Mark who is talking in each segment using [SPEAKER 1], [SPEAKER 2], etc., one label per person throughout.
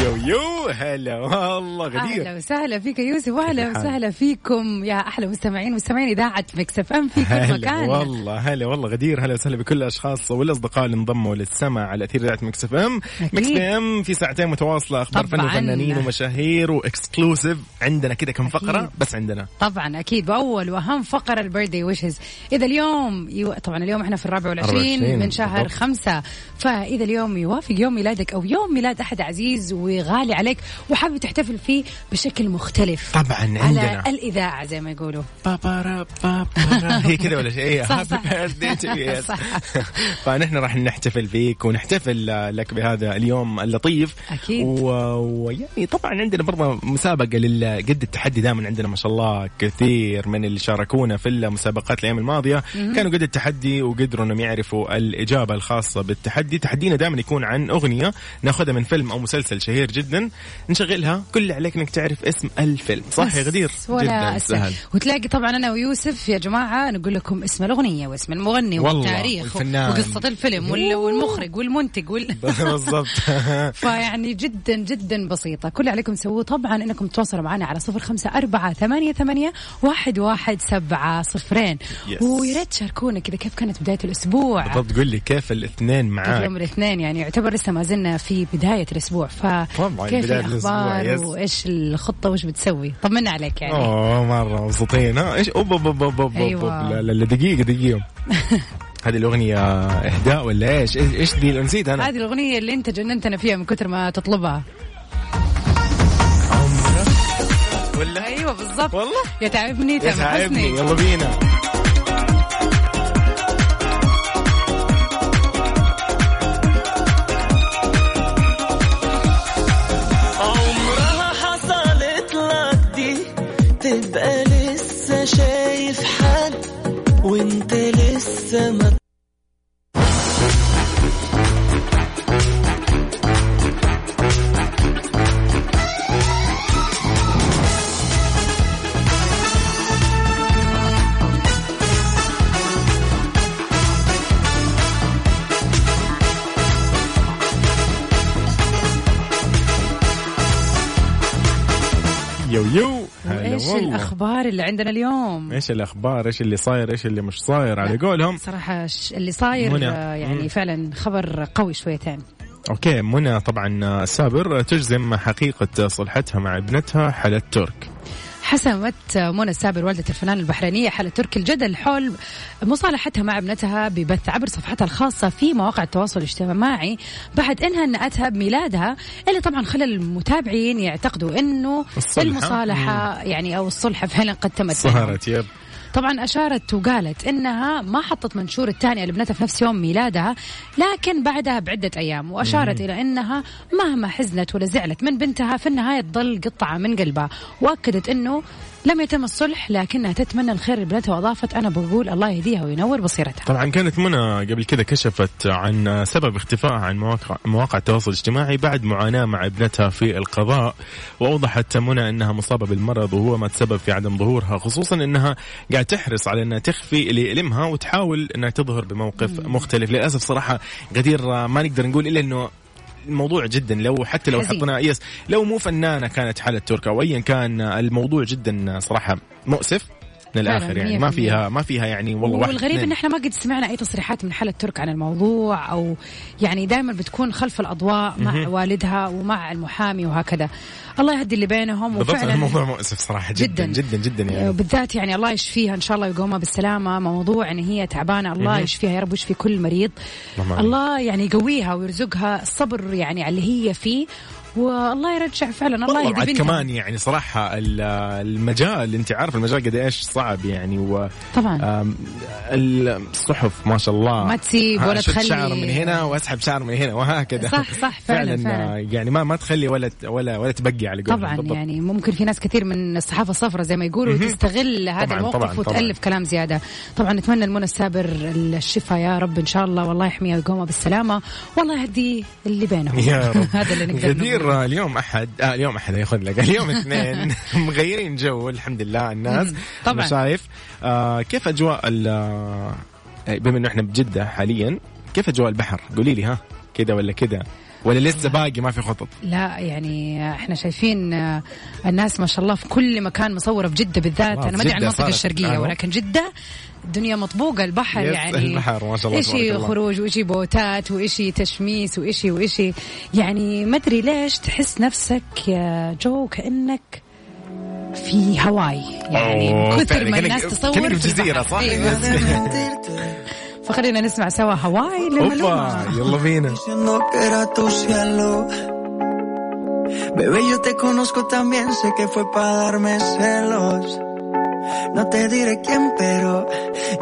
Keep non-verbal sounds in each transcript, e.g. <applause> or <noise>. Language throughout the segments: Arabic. [SPEAKER 1] يو يو هلا والله
[SPEAKER 2] اهلا وسهلا فيك يا يوسف واهلا وسهلا فيكم يا احلى مستمعين مستمعين اذاعه ميكس اف ام في كل
[SPEAKER 1] هلا
[SPEAKER 2] مكان
[SPEAKER 1] والله هلا والله غدير هلا وسهلا بكل الاشخاص والاصدقاء اللي انضموا للسمع على اثير اذاعه مكس اف ام
[SPEAKER 2] أكيد.
[SPEAKER 1] مكس اف ام في ساعتين متواصله اخبار فن
[SPEAKER 2] طبعاً.
[SPEAKER 1] وفنانين ومشاهير واكسكلوسيف عندنا كذا كم فقره بس عندنا
[SPEAKER 2] طبعا اكيد واول واهم فقره البيرثدي ويشز اذا اليوم يو... طبعا اليوم احنا في الرابع والعشرين
[SPEAKER 1] 24
[SPEAKER 2] من شهر
[SPEAKER 1] بالضبط.
[SPEAKER 2] خمسة فاذا اليوم يوافق يوم ميلادك او يوم ميلاد احد عزيز وغالي عليك وحابب تحتفل فيه بشكل مختلف
[SPEAKER 1] طبعا
[SPEAKER 2] على
[SPEAKER 1] طيب، عندنا
[SPEAKER 2] الاذاعه زي ما يقولوا
[SPEAKER 1] بابارا بابارا <laughs> هي كذا ولا شيء إيه،
[SPEAKER 2] صح،
[SPEAKER 1] Happy
[SPEAKER 2] صح.
[SPEAKER 1] birthday to you. Yes.
[SPEAKER 2] <laughs> صح.
[SPEAKER 1] <laughs> فنحن راح نحتفل فيك ونحتفل لك بهذا اليوم اللطيف
[SPEAKER 2] أكيد.
[SPEAKER 1] و- ويعني طبعا عندنا برضه مسابقه لل- قد التحدي دائما عندنا ما شاء الله كثير من اللي شاركونا في المسابقات الايام الماضيه كانوا قد التحدي وقدروا انهم يعرفوا الاجابه الخاصه بالتحدي تحدينا دائما يكون عن اغنيه ناخذها من فيلم او مسلسل شهير جدا نشغلها كل اللي عليك انك تعرف اسم الفيلم صح يا
[SPEAKER 2] بس
[SPEAKER 1] غدير
[SPEAKER 2] ولا سهل وتلاقي طبعا انا ويوسف يا جماعه نقول لكم اسم الاغنيه واسم المغني
[SPEAKER 1] والله،
[SPEAKER 2] والتاريخ
[SPEAKER 1] والفنان.
[SPEAKER 2] وقصه الفيلم وال- والمخرج
[SPEAKER 1] <laughs>
[SPEAKER 2] والمنتج وال...
[SPEAKER 1] <laughs> بالضبط
[SPEAKER 2] فيعني جدا جدا بسيطة كل اللي عليكم تسووه طبعا انكم تتواصلوا معنا على صفر خمسة أربعة ثمانية, ثمانية واحد, واحد سبعة صفرين
[SPEAKER 1] Yes.
[SPEAKER 2] ويا ريت تشاركونا كذا كيف كانت بداية الأسبوع
[SPEAKER 1] بالضبط قول لي كيف الاثنين
[SPEAKER 2] قبل
[SPEAKER 1] معاك
[SPEAKER 2] يوم الاثنين يعني يعتبر لسه ما زلنا في بداية الأسبوع
[SPEAKER 1] طبعاً،
[SPEAKER 2] فكيف
[SPEAKER 1] بداية
[SPEAKER 2] الأخبار
[SPEAKER 1] الأسبوع، yes.
[SPEAKER 2] وإيش الخطة وإيش بتسوي طمنا عليك يعني
[SPEAKER 1] اوه مره مبسوطين آه، ها ايش اوب اوب اوب اوب اوب
[SPEAKER 2] أيوة.
[SPEAKER 1] أيوة. لا لا لا، دقيقه دقيقه
[SPEAKER 2] <laughs>
[SPEAKER 1] هذه الاغنيه اهداء ولا ايش؟ ايش إيش دي نسيت انا
[SPEAKER 2] هذه الأغنية اللي أنت جننتنا فيها من كثر ما تطلبها
[SPEAKER 1] ولا
[SPEAKER 2] أيوة بالضبط
[SPEAKER 1] والله؟
[SPEAKER 2] يتعبني
[SPEAKER 1] يتعبني
[SPEAKER 2] تمحسني
[SPEAKER 1] يلا بينا
[SPEAKER 3] عمرها حصلت لك دي تبقى لسه شايف حد وانت لسه ما
[SPEAKER 1] يو يو هلا
[SPEAKER 2] ايش
[SPEAKER 1] والله
[SPEAKER 2] الاخبار اللي عندنا اليوم؟
[SPEAKER 1] ايش الاخبار؟ ايش اللي صاير؟ ايش اللي مش صاير على قولهم؟
[SPEAKER 2] صراحة ش- اللي صاير
[SPEAKER 1] منى.
[SPEAKER 2] آه، يعني
[SPEAKER 1] مم.
[SPEAKER 2] فعلا خبر قوي شويتين
[SPEAKER 1] اوكي منى طبعا سابر تجزم حقيقه صلحتها مع ابنتها حلا ترك
[SPEAKER 2] حسمت منى السابر والدة الفنانة البحرينية حالة تركي الجدل حول مصالحتها مع ابنتها ببث عبر صفحتها الخاصة في مواقع التواصل الاجتماعي بعد انها نأتها بميلادها اللي طبعا خلى المتابعين يعتقدوا انه
[SPEAKER 1] الصلحة.
[SPEAKER 2] المصالحة يعني او الصلحة فعلا قد تمت بينهم.
[SPEAKER 1] صهرت يب
[SPEAKER 2] طبعا اشارت وقالت انها ما حطت منشور التهنئه لابنتها في نفس يوم ميلادها لكن بعدها بعده ايام واشارت الى انها مهما حزنت ولا زعلت من بنتها في النهايه تظل قطعه من قلبها واكدت انه لم يتم الصلح لكنها تتمنى الخير لبنتها واضافت انا بقول الله يهديها وينور بصيرتها
[SPEAKER 1] طبعا كانت منى قبل كذا كشفت عن سبب اختفائها عن مواقع مواقع التواصل الاجتماعي بعد معاناه مع ابنتها في القضاء واوضحت منى انها مصابه بالمرض وهو ما تسبب في عدم ظهورها خصوصا انها قاعد تحرص على انها تخفي اللي يألمها وتحاول انها تظهر بموقف مختلف للاسف صراحه غدير آه، ما نقدر نقول الا انه الموضوع جدا لو حتى لو
[SPEAKER 2] حزين.
[SPEAKER 1] حطينا يس لو مو فنانه كانت حاله تركا او ايا كان آه، الموضوع جدا آه، صراحه مؤسف للاخر
[SPEAKER 2] فعلاً،
[SPEAKER 1] يعني ما
[SPEAKER 2] 100%.
[SPEAKER 1] فيها ما فيها يعني والله واحد
[SPEAKER 2] والغريب
[SPEAKER 1] اثنين.
[SPEAKER 2] ان احنا ما قد سمعنا اي تصريحات من حاله ترك عن الموضوع او يعني دائما بتكون خلف الاضواء مع والدها ومع المحامي وهكذا الله يهدي اللي بينهم
[SPEAKER 1] بالضبط
[SPEAKER 2] وفعلا
[SPEAKER 1] الموضوع مؤسف صراحه جدا جدا جدا, يعني
[SPEAKER 2] بالذات يعني الله يشفيها ان شاء الله ويقومها بالسلامه موضوع ان هي تعبانه الله يشفيها يا رب ويشفي كل مريض
[SPEAKER 1] اللهم آمين.
[SPEAKER 2] الله يعني يقويها ويرزقها الصبر يعني على اللي هي فيه والله يرجع فعلا الله
[SPEAKER 1] والله
[SPEAKER 2] يهدي
[SPEAKER 1] بعد
[SPEAKER 2] بنتها.
[SPEAKER 1] كمان يعني صراحة ال- المجال انت عارف المجال قد ايش صعب يعني و
[SPEAKER 2] طبعا
[SPEAKER 1] آم، الصحف ما شاء الله
[SPEAKER 2] ما تسيب ولا
[SPEAKER 1] أشد
[SPEAKER 2] تخلي.
[SPEAKER 1] شعر من هنا واسحب شعر من هنا وهكذا
[SPEAKER 2] صح- صح، فعلاً- فعلاً.
[SPEAKER 1] آه، يعني ما ما تخلي ولا ولا ولا تبقي على قولهم
[SPEAKER 2] طبعا
[SPEAKER 1] بالضبط.
[SPEAKER 2] يعني ممكن في ناس كثير من الصحافه الصفراء زي ما يقولوا
[SPEAKER 1] مهم.
[SPEAKER 2] تستغل هذا
[SPEAKER 1] طبعاً،
[SPEAKER 2] الموقف
[SPEAKER 1] طبعاً، طبعاً.
[SPEAKER 2] وتالف كلام زياده طبعا نتمنى المنى السابر الشفاء يا رب ان شاء الله والله يحميها ويقومها بالسلامه والله يهدي اللي بينهم
[SPEAKER 1] يا رب
[SPEAKER 2] <laughs> هذا اللي نقدر نقوله.
[SPEAKER 1] غدير آه، اليوم احد آه اليوم احد ياخذ لك <laughs> اليوم اثنين مغيرين جو الحمد لله الناس
[SPEAKER 2] مم، طبعاً.
[SPEAKER 1] أنا شايف آه كيف اجواء ال- آه، بما انه احنا بجده حاليا كيف اجواء البحر قولي لي ها كذا ولا كذا ولا
[SPEAKER 2] آه.
[SPEAKER 1] لسه باقي ما في خطط
[SPEAKER 2] لا يعني احنا شايفين آه، الناس ما شاء الله في كل مكان مصوره في جده بالذات
[SPEAKER 1] خلاص،
[SPEAKER 2] انا ما ادري عن
[SPEAKER 1] جدة
[SPEAKER 2] المنطقه
[SPEAKER 1] صارت
[SPEAKER 2] الشرقيه
[SPEAKER 1] الآن.
[SPEAKER 2] ولكن جده الدنيا مطبوقه البحر
[SPEAKER 1] يس،
[SPEAKER 2] يعني
[SPEAKER 1] البحر ما شاء الله تبارك
[SPEAKER 2] ايشي
[SPEAKER 1] الله.
[SPEAKER 2] خروج وايشي بوتات وايشي تشميس وايشي وايشي يعني ما ادري ليش تحس نفسك يا جو كانك في هواي يعني
[SPEAKER 1] أوه،
[SPEAKER 2] من كثر
[SPEAKER 1] فعلاً،
[SPEAKER 2] ما
[SPEAKER 1] كأنك-
[SPEAKER 2] الناس تصور
[SPEAKER 1] كأنك
[SPEAKER 2] في
[SPEAKER 1] في جزيرة،
[SPEAKER 2] البحر.
[SPEAKER 1] صح؟
[SPEAKER 2] أيوة. فخلينا نسمع سوا هواي
[SPEAKER 1] اوبا
[SPEAKER 2] للملومه
[SPEAKER 1] يلا
[SPEAKER 2] <laughs>
[SPEAKER 1] بينا
[SPEAKER 3] Diciendo que era tu cielo. Bebé, yo te conozco también, sé que fue para darme celos. No te diré quién, pero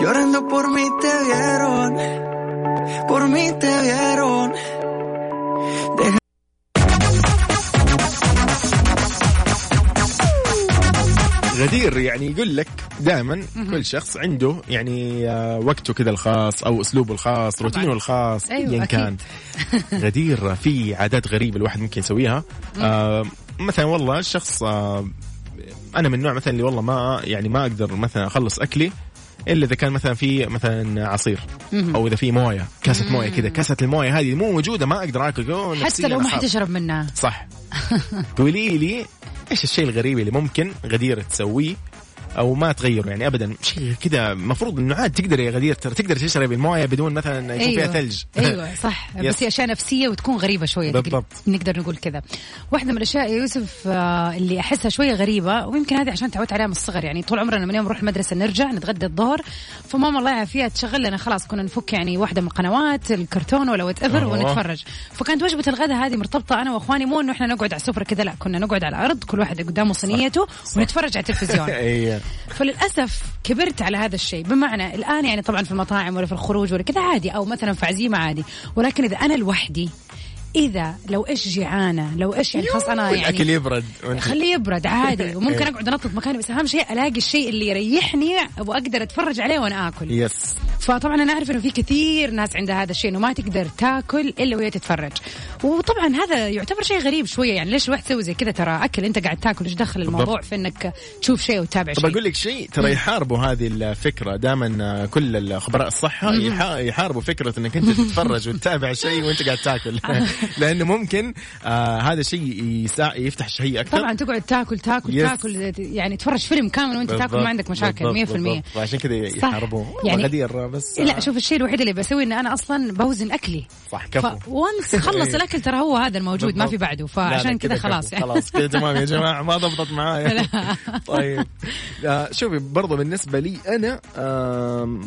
[SPEAKER 3] llorando por mí te vieron. Por mí te vieron. Deja-
[SPEAKER 1] غدير يعني يقول لك دائما كل شخص عنده يعني آه، وقته كذا الخاص او اسلوبه الخاص روتينه الخاص
[SPEAKER 2] أيوة،
[SPEAKER 1] ايا كان غدير في عادات غريبه الواحد ممكن يسويها آه، مثلا والله الشخص آه، انا من النوع مثلا اللي والله ما يعني ما اقدر مثلا اخلص اكلي الا اذا كان مثلا في مثلا عصير او اذا في مويه كاسه مويه كذا كاسه المويه هذه مو موجوده ما اقدر اكل أوه،
[SPEAKER 2] حتى
[SPEAKER 1] نفسياً
[SPEAKER 2] لو ما
[SPEAKER 1] أخاف.
[SPEAKER 2] حتشرب منها <laughs>
[SPEAKER 1] صح قولي لي ايش الشيء الغريب اللي ممكن غدير تسويه او ما تغيره يعني ابدا شيء كذا المفروض انه عاد تقدر يا غدير ترى تقدر تشرب المويه بدون مثلا يكون فيها ثلج <laughs>
[SPEAKER 2] ايوه صح
[SPEAKER 1] يس.
[SPEAKER 2] بس هي اشياء نفسيه وتكون غريبه شويه
[SPEAKER 1] بالضبط.
[SPEAKER 2] تقل- نقدر نقول كذا واحده من الاشياء يا يوسف آه، اللي احسها شويه غريبه ويمكن هذه عشان تعودت عليها من الصغر يعني طول عمرنا من يوم نروح المدرسه نرجع نتغدى الظهر فماما الله يعافيها تشغل لنا خلاص كنا نفك يعني واحده من القنوات الكرتون ولا وات ايفر
[SPEAKER 1] أوه.
[SPEAKER 2] ونتفرج فكانت وجبه الغداء هذه مرتبطه انا واخواني مو انه احنا نقعد على السفره كذا لا كنا نقعد على الارض كل واحد قدامه صينيته ونتفرج على
[SPEAKER 1] <laughs>
[SPEAKER 2] التلفزيون
[SPEAKER 1] ايوه
[SPEAKER 2] فللاسف كبرت على هذا الشيء بمعنى الان يعني طبعا في المطاعم ولا في الخروج ولا كذا عادي او مثلا في عزيمه عادي ولكن اذا انا لوحدي اذا لو ايش جيعانه لو ايش يعني خلاص انا
[SPEAKER 1] الاكل
[SPEAKER 2] يعني
[SPEAKER 1] يبرد وأنت-
[SPEAKER 2] خليه يبرد عادي وممكن اقعد انطط مكاني بس اهم شيء الاقي الشيء اللي يريحني واقدر اتفرج عليه وانا اكل
[SPEAKER 1] يس
[SPEAKER 2] فطبعا انا اعرف انه في كثير ناس عندها هذا الشيء انه ما تقدر تاكل الا وهي تتفرج وطبعا هذا يعتبر شيء غريب شويه يعني ليش الواحد يسوي زي كذا ترى اكل انت قاعد تاكل ايش دخل الموضوع في انك تشوف شيء وتتابع
[SPEAKER 1] طب
[SPEAKER 2] شيء
[SPEAKER 1] اقول لك شيء ترى يحاربوا هذه الفكره دائما كل الخبراء الصحه يح- يحاربوا فكره انك انت تتفرج وتتابع شيء وانت قاعد
[SPEAKER 2] <laughs>
[SPEAKER 1] تاكل <laughs> لانه ممكن آه هذا الشيء يسا- يفتح شهيه اكثر
[SPEAKER 2] طبعا تقعد تاكل تاكل
[SPEAKER 1] يس.
[SPEAKER 2] تاكل يعني تفرج فيلم كامل وانت تاكل ما عندك مشاكل 100%
[SPEAKER 1] عشان كذا
[SPEAKER 2] صح.
[SPEAKER 1] يحاربوه
[SPEAKER 2] يعني-
[SPEAKER 1] يعني غدير بس
[SPEAKER 2] لا شوف الشيء الوحيد اللي بسويه ان انا اصلا بوزن اكلي
[SPEAKER 1] صح، كفو.
[SPEAKER 2] وانس خلص
[SPEAKER 1] <laughs> إيه.
[SPEAKER 2] الاكل ترى هو هذا الموجود ما في بعده فعشان كذا
[SPEAKER 1] كفو.
[SPEAKER 2] خلاص <laughs> يعني
[SPEAKER 1] خلاص كذا تمام يا جماعه ما ضبطت معايا
[SPEAKER 2] لا.
[SPEAKER 1] <laughs> طيب آه، شوفي برضو بالنسبه لي انا آم،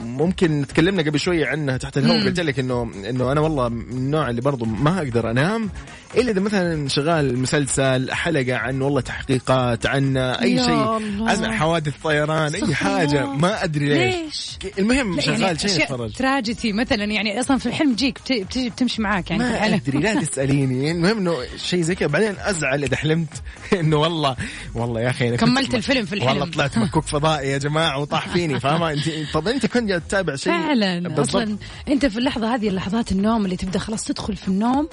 [SPEAKER 1] ممكن تكلمنا قبل شوي عنها تحت الهواء قلت لك انه انه انا والله من النوع اللي برضو ما اقدر انام الا اذا مثلا شغال مسلسل حلقه عن والله تحقيقات عن اي
[SPEAKER 2] يا
[SPEAKER 1] شيء
[SPEAKER 2] الله.
[SPEAKER 1] اسمع حوادث طيران اي
[SPEAKER 2] استغفر
[SPEAKER 1] حاجه
[SPEAKER 2] الله.
[SPEAKER 1] ما ادري ليش
[SPEAKER 2] ليش؟
[SPEAKER 1] المهم
[SPEAKER 2] لا،
[SPEAKER 1] شغال شيء
[SPEAKER 2] يعني أشياء
[SPEAKER 1] اتفرج
[SPEAKER 2] تراجيدي مثلا يعني اصلا في الحلم تجيك بت- بت- بتمشي معاك يعني في
[SPEAKER 1] ما
[SPEAKER 2] الحلم.
[SPEAKER 1] ادري لا تساليني المهم انه شيء زي كذا بعدين ازعل اذا حلمت <laughs> انه والله والله يا اخي أنا كنت-
[SPEAKER 2] كملت الفيلم في الحلم.
[SPEAKER 1] والله طلعت مكوك فضائي يا جماعه وطاح فيني فاهمه انت طب انت كنت قاعد تتابع شيء
[SPEAKER 2] فعلا
[SPEAKER 1] بالضبط
[SPEAKER 2] اصلا انت في اللحظه هذه لحظات النوم اللي تبدا خلاص تدخل في النوم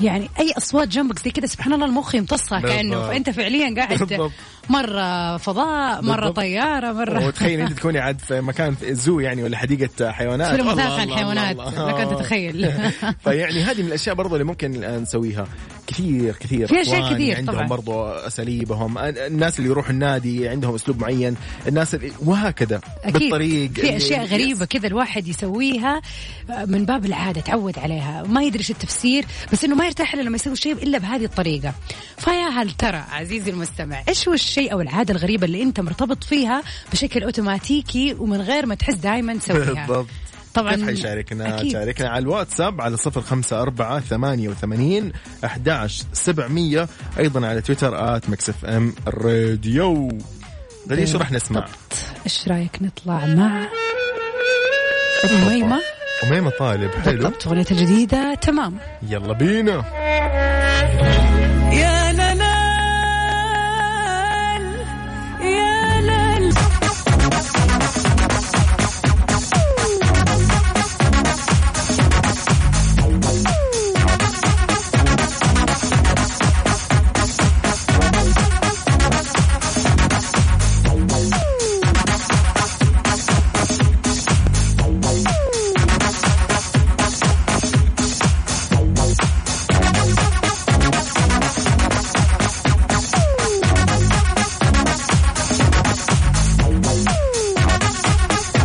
[SPEAKER 2] يعني اي اصوات جنبك زي كذا سبحان الله المخ يمتصها
[SPEAKER 1] بالضبط.
[SPEAKER 2] كانه فانت فعليا قاعد
[SPEAKER 1] بالضبط.
[SPEAKER 2] مره فضاء مره
[SPEAKER 1] بالضبط.
[SPEAKER 2] طياره مره
[SPEAKER 1] وتخيل
[SPEAKER 2] <laughs>
[SPEAKER 1] انت تكوني عاد في مكان في زو يعني ولا حديقه حيوانات
[SPEAKER 2] فيلم
[SPEAKER 1] والله
[SPEAKER 2] وثائقي عن
[SPEAKER 1] <laughs> الله
[SPEAKER 2] حيوانات.
[SPEAKER 1] الله
[SPEAKER 2] لك أن
[SPEAKER 1] الله.
[SPEAKER 2] تتخيل.
[SPEAKER 1] <laughs> فيعني هذه من الاشياء برضو اللي ممكن الان نسويها كثير كثير
[SPEAKER 2] في أشياء
[SPEAKER 1] إخواني
[SPEAKER 2] كثير
[SPEAKER 1] عندهم
[SPEAKER 2] طبعاً.
[SPEAKER 1] برضو اساليبهم الناس اللي يروحوا النادي عندهم اسلوب معين الناس اللي وهكذا بالطريق
[SPEAKER 2] في اشياء
[SPEAKER 1] اللي-
[SPEAKER 2] غريبه كذا الواحد يسويها من باب العاده تعود عليها ما يدري ايش التفسير بس انه ما يرتاح الا لما يسوي شيء الا بهذه الطريقه فيا هل ترى عزيزي المستمع ايش هو الشيء او العاده الغريبه اللي انت مرتبط فيها بشكل اوتوماتيكي ومن غير ما تحس دائما تسويها
[SPEAKER 1] <laughs> بالضبط
[SPEAKER 2] طبعا
[SPEAKER 1] كيف حيشاركنا؟
[SPEAKER 2] أكيد.
[SPEAKER 1] شاركنا على الواتساب على 054 88 11 700 ايضا على تويتر ات ميكس اف ام راديو غادي شو راح نسمع؟
[SPEAKER 2] ايش رايك نطلع مع أميمة
[SPEAKER 1] أميمة طالب حلو
[SPEAKER 2] بالضبط اغنيتها الجديدة تمام
[SPEAKER 1] يلا بينا
[SPEAKER 4] يا للال يا للال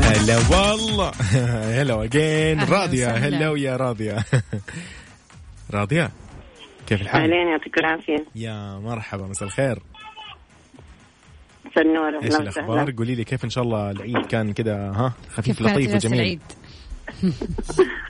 [SPEAKER 1] هلا والله <laughs> هلا اجين
[SPEAKER 2] أهلا
[SPEAKER 1] راضية
[SPEAKER 2] وسهلا.
[SPEAKER 1] هلا ويا <laughs> راضية راضية كيف الحال؟
[SPEAKER 5] أهلين يعطيك العافية
[SPEAKER 1] يا مرحبا مساء الخير
[SPEAKER 5] مساء النور
[SPEAKER 1] ايش
[SPEAKER 5] أهلا
[SPEAKER 1] الاخبار؟
[SPEAKER 5] وسهلا
[SPEAKER 1] قولي لي كيف ان شاء الله العيد كان كذا ها خفيف
[SPEAKER 2] كيف كانت
[SPEAKER 1] لطيف
[SPEAKER 2] ليلة
[SPEAKER 1] وجميل
[SPEAKER 2] العيد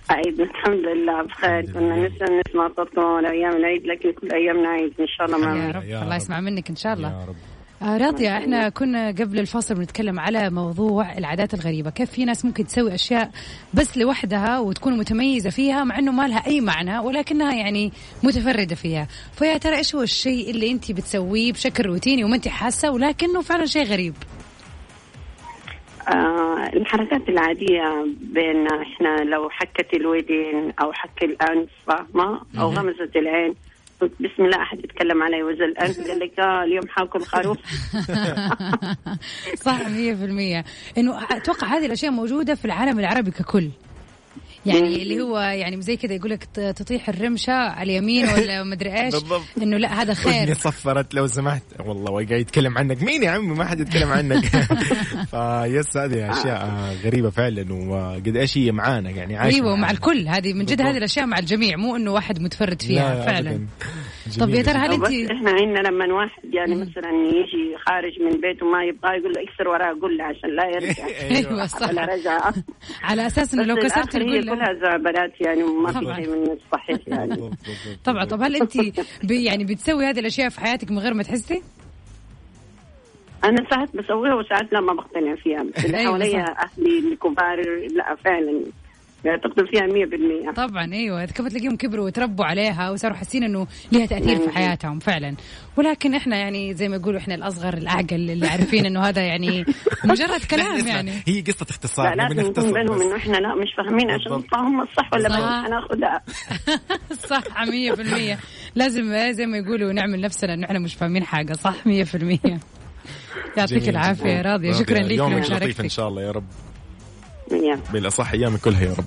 [SPEAKER 5] عيد الحمد لله بخير
[SPEAKER 1] الحمد
[SPEAKER 5] كنا
[SPEAKER 1] لله.
[SPEAKER 5] نسلم نسمع صوتكم أول أيام العيد لكن كل أيامنا عيد إن شاء الله
[SPEAKER 2] يا
[SPEAKER 5] معنا
[SPEAKER 2] رب
[SPEAKER 1] يا
[SPEAKER 2] الله
[SPEAKER 1] رب.
[SPEAKER 2] يسمع منك ان شاء الله
[SPEAKER 1] يا رب
[SPEAKER 2] آه، راضية احنا كنا قبل الفاصل بنتكلم على موضوع العادات الغريبة كيف في ناس ممكن تسوي اشياء بس لوحدها وتكون متميزة فيها مع انه ما لها اي معنى ولكنها يعني متفردة فيها فيا ترى ايش هو الشيء اللي انت بتسويه بشكل روتيني وما انت حاسة ولكنه فعلا شيء غريب
[SPEAKER 5] آه الحركات العادية بين إحنا لو حكت الودين أو حك الأنف فاهمة أو غمزة العين قلت بسم الله أحد يتكلم علي وزن الأنف قال لك آه اليوم حاكل خروف
[SPEAKER 2] <laughs> صح 100% انه اتوقع هذه الاشياء موجوده في العالم العربي ككل يعني اللي هو يعني زي كذا يقول لك ت- تطيح الرمشه على
[SPEAKER 1] <laughs>
[SPEAKER 2] اليمين ولا مدري ايش
[SPEAKER 1] بالضبط.
[SPEAKER 2] انه لا هذا
[SPEAKER 1] وجهي
[SPEAKER 2] خير
[SPEAKER 1] صفرت لو سمحت والله وقاعد يتكلم عنك مين يا عمي ما حد يتكلم
[SPEAKER 2] <laughs>
[SPEAKER 1] عنك فيس هذه اشياء غريبه فعلا وقد ايش هي معانا يعني عايش
[SPEAKER 2] ايوه
[SPEAKER 1] معانا.
[SPEAKER 2] مع الكل هذه من جد
[SPEAKER 1] بالضبط.
[SPEAKER 2] هذه الاشياء مع الجميع مو انه واحد متفرد
[SPEAKER 1] لا،
[SPEAKER 2] فيها
[SPEAKER 1] لا،
[SPEAKER 2] فعلا
[SPEAKER 1] أبداً.
[SPEAKER 2] طب يا
[SPEAKER 1] جميلة.
[SPEAKER 2] ترى هل
[SPEAKER 5] بس
[SPEAKER 2] انت
[SPEAKER 5] إحنا عندنا لما واحد يعني مثلا يجي خارج من بيته ما يبغى يقول له اكسر وراه قله عشان لا
[SPEAKER 1] <laughs>
[SPEAKER 5] يرجع
[SPEAKER 1] أيوة.
[SPEAKER 2] ايوه صح
[SPEAKER 5] ولا رجعه
[SPEAKER 2] على اساس انه لو
[SPEAKER 5] بس
[SPEAKER 2] كسرت
[SPEAKER 5] الآخر هي
[SPEAKER 2] القله
[SPEAKER 5] كلها زعبلات يعني ما
[SPEAKER 2] طبعاً.
[SPEAKER 5] في شيء من الصحيح
[SPEAKER 2] <laughs>
[SPEAKER 5] يعني
[SPEAKER 1] بالضبط، بالضبط.
[SPEAKER 2] طبعا طب هل انت بي- يعني بتسوي هذه الاشياء في حياتك من غير ما تحسي؟
[SPEAKER 5] انا ساعات بسويها وساعات لا ما بقتنع
[SPEAKER 2] <laughs>
[SPEAKER 5] فيها بس اللي
[SPEAKER 2] أيوة
[SPEAKER 5] حواليا اهلي الكبار لا فعلا يعتقدوا فيها 100%
[SPEAKER 2] طبعا ايوه كيف تلاقيهم كبروا وتربوا عليها وصاروا حاسين انه لها تاثير
[SPEAKER 1] أيوة.
[SPEAKER 2] في حياتهم فعلا ولكن احنا يعني زي ما يقولوا احنا الاصغر الاعقل اللي عارفين انه هذا
[SPEAKER 1] <laughs>
[SPEAKER 2] يعني مجرد كلام
[SPEAKER 1] اسمع،
[SPEAKER 2] يعني <laughs>
[SPEAKER 1] هي قصه
[SPEAKER 5] لا
[SPEAKER 1] اختصار
[SPEAKER 5] لازم يكون بينهم انه احنا لا مش فاهمين عشان
[SPEAKER 1] بالضبط.
[SPEAKER 5] نطلع هم الصح ولا
[SPEAKER 2] صح.
[SPEAKER 5] ما هناخدها
[SPEAKER 2] <laughs> صح 100% لازم زي ما يقولوا نعمل نفسنا انه احنا مش فاهمين حاجه صح 100% يعطيك العافيه يا راضيه شكرا لك
[SPEAKER 1] يومك لطيف ان
[SPEAKER 2] لمشاركتك
[SPEAKER 1] شاء الله يا رب
[SPEAKER 5] يا.
[SPEAKER 1] بالاصح ايامك كلها يا رب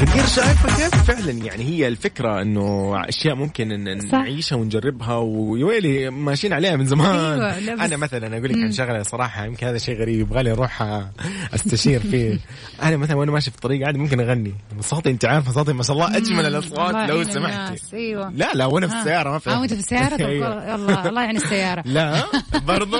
[SPEAKER 1] غدير شايفه كيف فعلا يعني هي الفكره انه اشياء ممكن إن إن
[SPEAKER 2] صح.
[SPEAKER 1] نعيشها ونجربها ويويلي ماشيين عليها من زمان <laughs>
[SPEAKER 2] أيوة، لا بس-
[SPEAKER 1] انا مثلا اقول لك عن شغله صراحه يمكن هذا شيء غريب يبغى لي اروح أ- استشير
[SPEAKER 2] <laughs>
[SPEAKER 1] فيه انا مثلا وانا ماشي في الطريق عادي ممكن اغني صوتي انت عارفه صوتي ما شاء الله اجمل
[SPEAKER 2] الله
[SPEAKER 1] الاصوات لو
[SPEAKER 2] يعين
[SPEAKER 1] سمحتي
[SPEAKER 2] الناس، أيوة.
[SPEAKER 1] لا لا وانا في
[SPEAKER 2] ها.
[SPEAKER 1] السياره ما في
[SPEAKER 2] اه وانت في
[SPEAKER 1] <laughs>
[SPEAKER 2] السياره طب
[SPEAKER 1] أيوة.
[SPEAKER 2] الله الله يعين السياره
[SPEAKER 1] لا برضو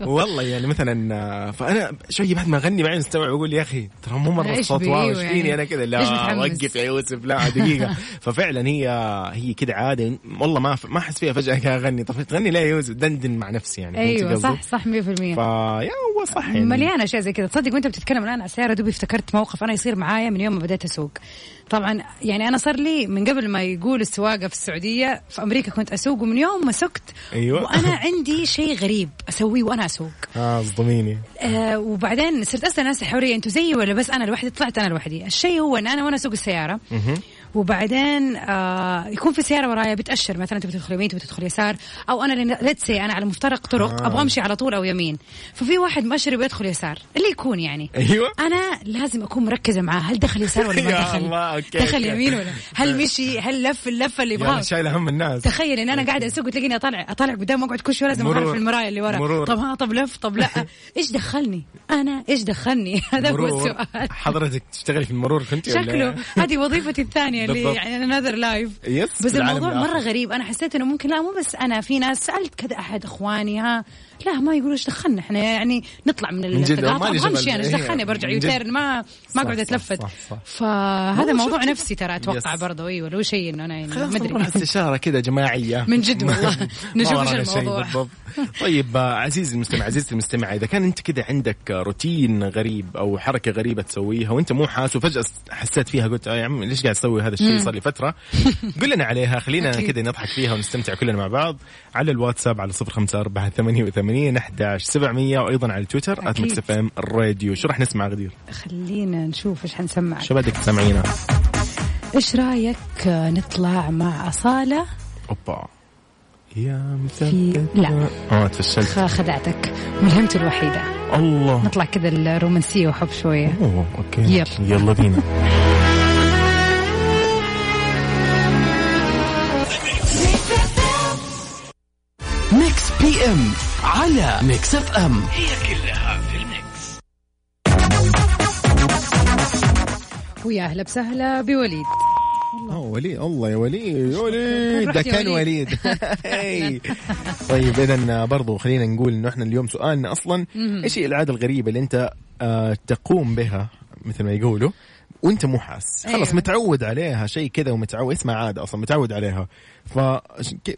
[SPEAKER 1] والله يعني مثلا آه، فانا شوي بعد ما اغني بعدين استوعب اقول يا اخي ترى مو مره
[SPEAKER 2] إيش
[SPEAKER 1] الصوت
[SPEAKER 2] بي-
[SPEAKER 1] واو
[SPEAKER 2] أيوة
[SPEAKER 1] ايش
[SPEAKER 2] يعني.
[SPEAKER 1] فيني انا كذا
[SPEAKER 2] ليش
[SPEAKER 1] لا
[SPEAKER 2] متحمس؟
[SPEAKER 1] وقف يا يوسف لا
[SPEAKER 2] <laughs>
[SPEAKER 1] دقيقه ففعلا هي هي كذا عاده والله ما ما احس فيها فجاه كذا اغني طب تغني ليه يا يوسف دندن مع نفسي يعني فهمت
[SPEAKER 2] ايوه
[SPEAKER 1] قصدي؟
[SPEAKER 2] صح صح 100%
[SPEAKER 1] فيا هو صح يعني
[SPEAKER 2] مليانه اشياء زي كذا تصدق وانت بتتكلم الان على السياره دوبي افتكرت موقف انا يصير معايا من يوم ما بديت اسوق طبعا يعني انا صار لي من قبل ما يقول السواقه في السعوديه في امريكا كنت اسوق ومن يوم ما سكت
[SPEAKER 1] أيوة.
[SPEAKER 2] وانا عندي شيء غريب اسويه وانا اسوق
[SPEAKER 1] اه صدميني
[SPEAKER 2] آه وبعدين صرت اسال الناس حواليا انتم زيي ولا بس انا لوحدي طلعت انا لوحدي الشيء هو ان انا وانا اسوق السياره وبعدين آه يكون في سياره ورايا بتاشر مثلا تبي تدخل يمين تبي تدخل يسار او انا ليتس انا على مفترق طرق
[SPEAKER 1] آه.
[SPEAKER 2] ابغى امشي على طول او يمين ففي واحد مؤشر يبغى يدخل يسار اللي يكون يعني
[SPEAKER 1] ايوه
[SPEAKER 2] انا لازم اكون مركزه معاه هل دخل يسار
[SPEAKER 1] <laughs>
[SPEAKER 2] ولا
[SPEAKER 1] يا
[SPEAKER 2] ما دخل
[SPEAKER 1] الله، أوكي،
[SPEAKER 2] دخل
[SPEAKER 1] أوكي. آه.
[SPEAKER 2] يمين ولا هل مشي هل لف اللفه اللي
[SPEAKER 1] يا
[SPEAKER 2] يبغاها
[SPEAKER 1] شايله هم الناس
[SPEAKER 2] تخيل ان انا قاعده اسوق وتلاقيني اطلع اطلع قدام اقعد كل شوي لازم
[SPEAKER 1] مرور.
[SPEAKER 2] اعرف المرايه اللي ورا
[SPEAKER 1] مرور.
[SPEAKER 2] طب ها طب لف طب
[SPEAKER 1] <laughs>
[SPEAKER 2] لا ايش دخلني انا ايش دخلني <laughs> <laughs> هذا هو
[SPEAKER 1] مرور. <laughs>
[SPEAKER 2] السؤال
[SPEAKER 1] حضرتك تشتغلي في المرور كنت ولا-
[SPEAKER 2] شكله <laughs> هذه وظيفتي الثانية اللي
[SPEAKER 1] بالضبط.
[SPEAKER 2] يعني انذر لايف
[SPEAKER 1] يس،
[SPEAKER 2] بس
[SPEAKER 1] بالعالم
[SPEAKER 2] الموضوع
[SPEAKER 1] الآخر.
[SPEAKER 2] مرة غريب انا حسيت انه ممكن لا مو بس انا في ناس سالت كذا احد اخواني ها لا ما يقولوا ايش دخلنا احنا يعني نطلع من
[SPEAKER 1] من جد،
[SPEAKER 2] التقاطع
[SPEAKER 1] ما لي
[SPEAKER 2] ما امشي
[SPEAKER 1] شغل.
[SPEAKER 2] انا ايش
[SPEAKER 1] إيه،
[SPEAKER 2] دخلني برجع
[SPEAKER 1] من جد.
[SPEAKER 2] يوتيرن ما ما اقعد
[SPEAKER 1] صح،
[SPEAKER 2] اتلفت
[SPEAKER 1] صح، صح.
[SPEAKER 2] فهذا موضوع نفسي ترى اتوقع
[SPEAKER 1] يس.
[SPEAKER 2] برضه ايوه لو شيء انه انا يعني
[SPEAKER 1] خلاص
[SPEAKER 2] ما
[SPEAKER 1] نروح
[SPEAKER 2] ادري
[SPEAKER 1] استشاره كذا جماعيه
[SPEAKER 2] من جد والله
[SPEAKER 1] <laughs>
[SPEAKER 2] نشوف
[SPEAKER 1] ما
[SPEAKER 2] ايش
[SPEAKER 1] ورانا شيء
[SPEAKER 2] الموضوع
[SPEAKER 1] بالضبط طيب آه، عزيزي المستمع عزيزتي المستمع اذا كان انت كده عندك آه، روتين غريب او حركه غريبه تسويها وانت مو حاسس وفجاه حسيت فيها قلت آه يا عم ليش قاعد اسوي هذا الشيء صار لي فتره <laughs> قل لنا عليها خلينا كده نضحك فيها ونستمتع كلنا مع بعض على الواتساب على 05488 11700 وايضا على تويتر
[SPEAKER 2] أكيد.
[SPEAKER 1] @مكسف ام الراديو شو راح نسمع غدير
[SPEAKER 2] <laughs> خلينا نشوف ايش حنسمع
[SPEAKER 1] شو بدك تسمعينا
[SPEAKER 2] ايش رايك نطلع مع اصاله
[SPEAKER 1] اوبا يا
[SPEAKER 2] في-
[SPEAKER 1] مثبت
[SPEAKER 2] لا.
[SPEAKER 1] اه تفشلت
[SPEAKER 2] خ- خدعتك ملهمته الوحيده
[SPEAKER 1] الله
[SPEAKER 2] نطلع كذا الرومانسيه وحب شويه
[SPEAKER 1] اوه اوكي
[SPEAKER 2] يب.
[SPEAKER 1] يلا بينا
[SPEAKER 6] ميكس بي ام على ميكس اف ام
[SPEAKER 2] ويا اهلا بسهلا بوليد
[SPEAKER 1] اه وليد الله يا وليد يا وليد
[SPEAKER 2] رحت
[SPEAKER 1] ده
[SPEAKER 2] يا
[SPEAKER 1] كان
[SPEAKER 2] وليد.
[SPEAKER 1] وليد هاي. طيب اذا برضو خلينا نقول انه احنا اليوم سؤالنا اصلا ايش هي العاده الغريبه اللي انت آه، تقوم بها مثل ما يقولوا وانت مو حاس خلاص
[SPEAKER 2] أيوة.
[SPEAKER 1] متعود عليها شيء كذا ومتعود اسمها عاده اصلا متعود عليها ف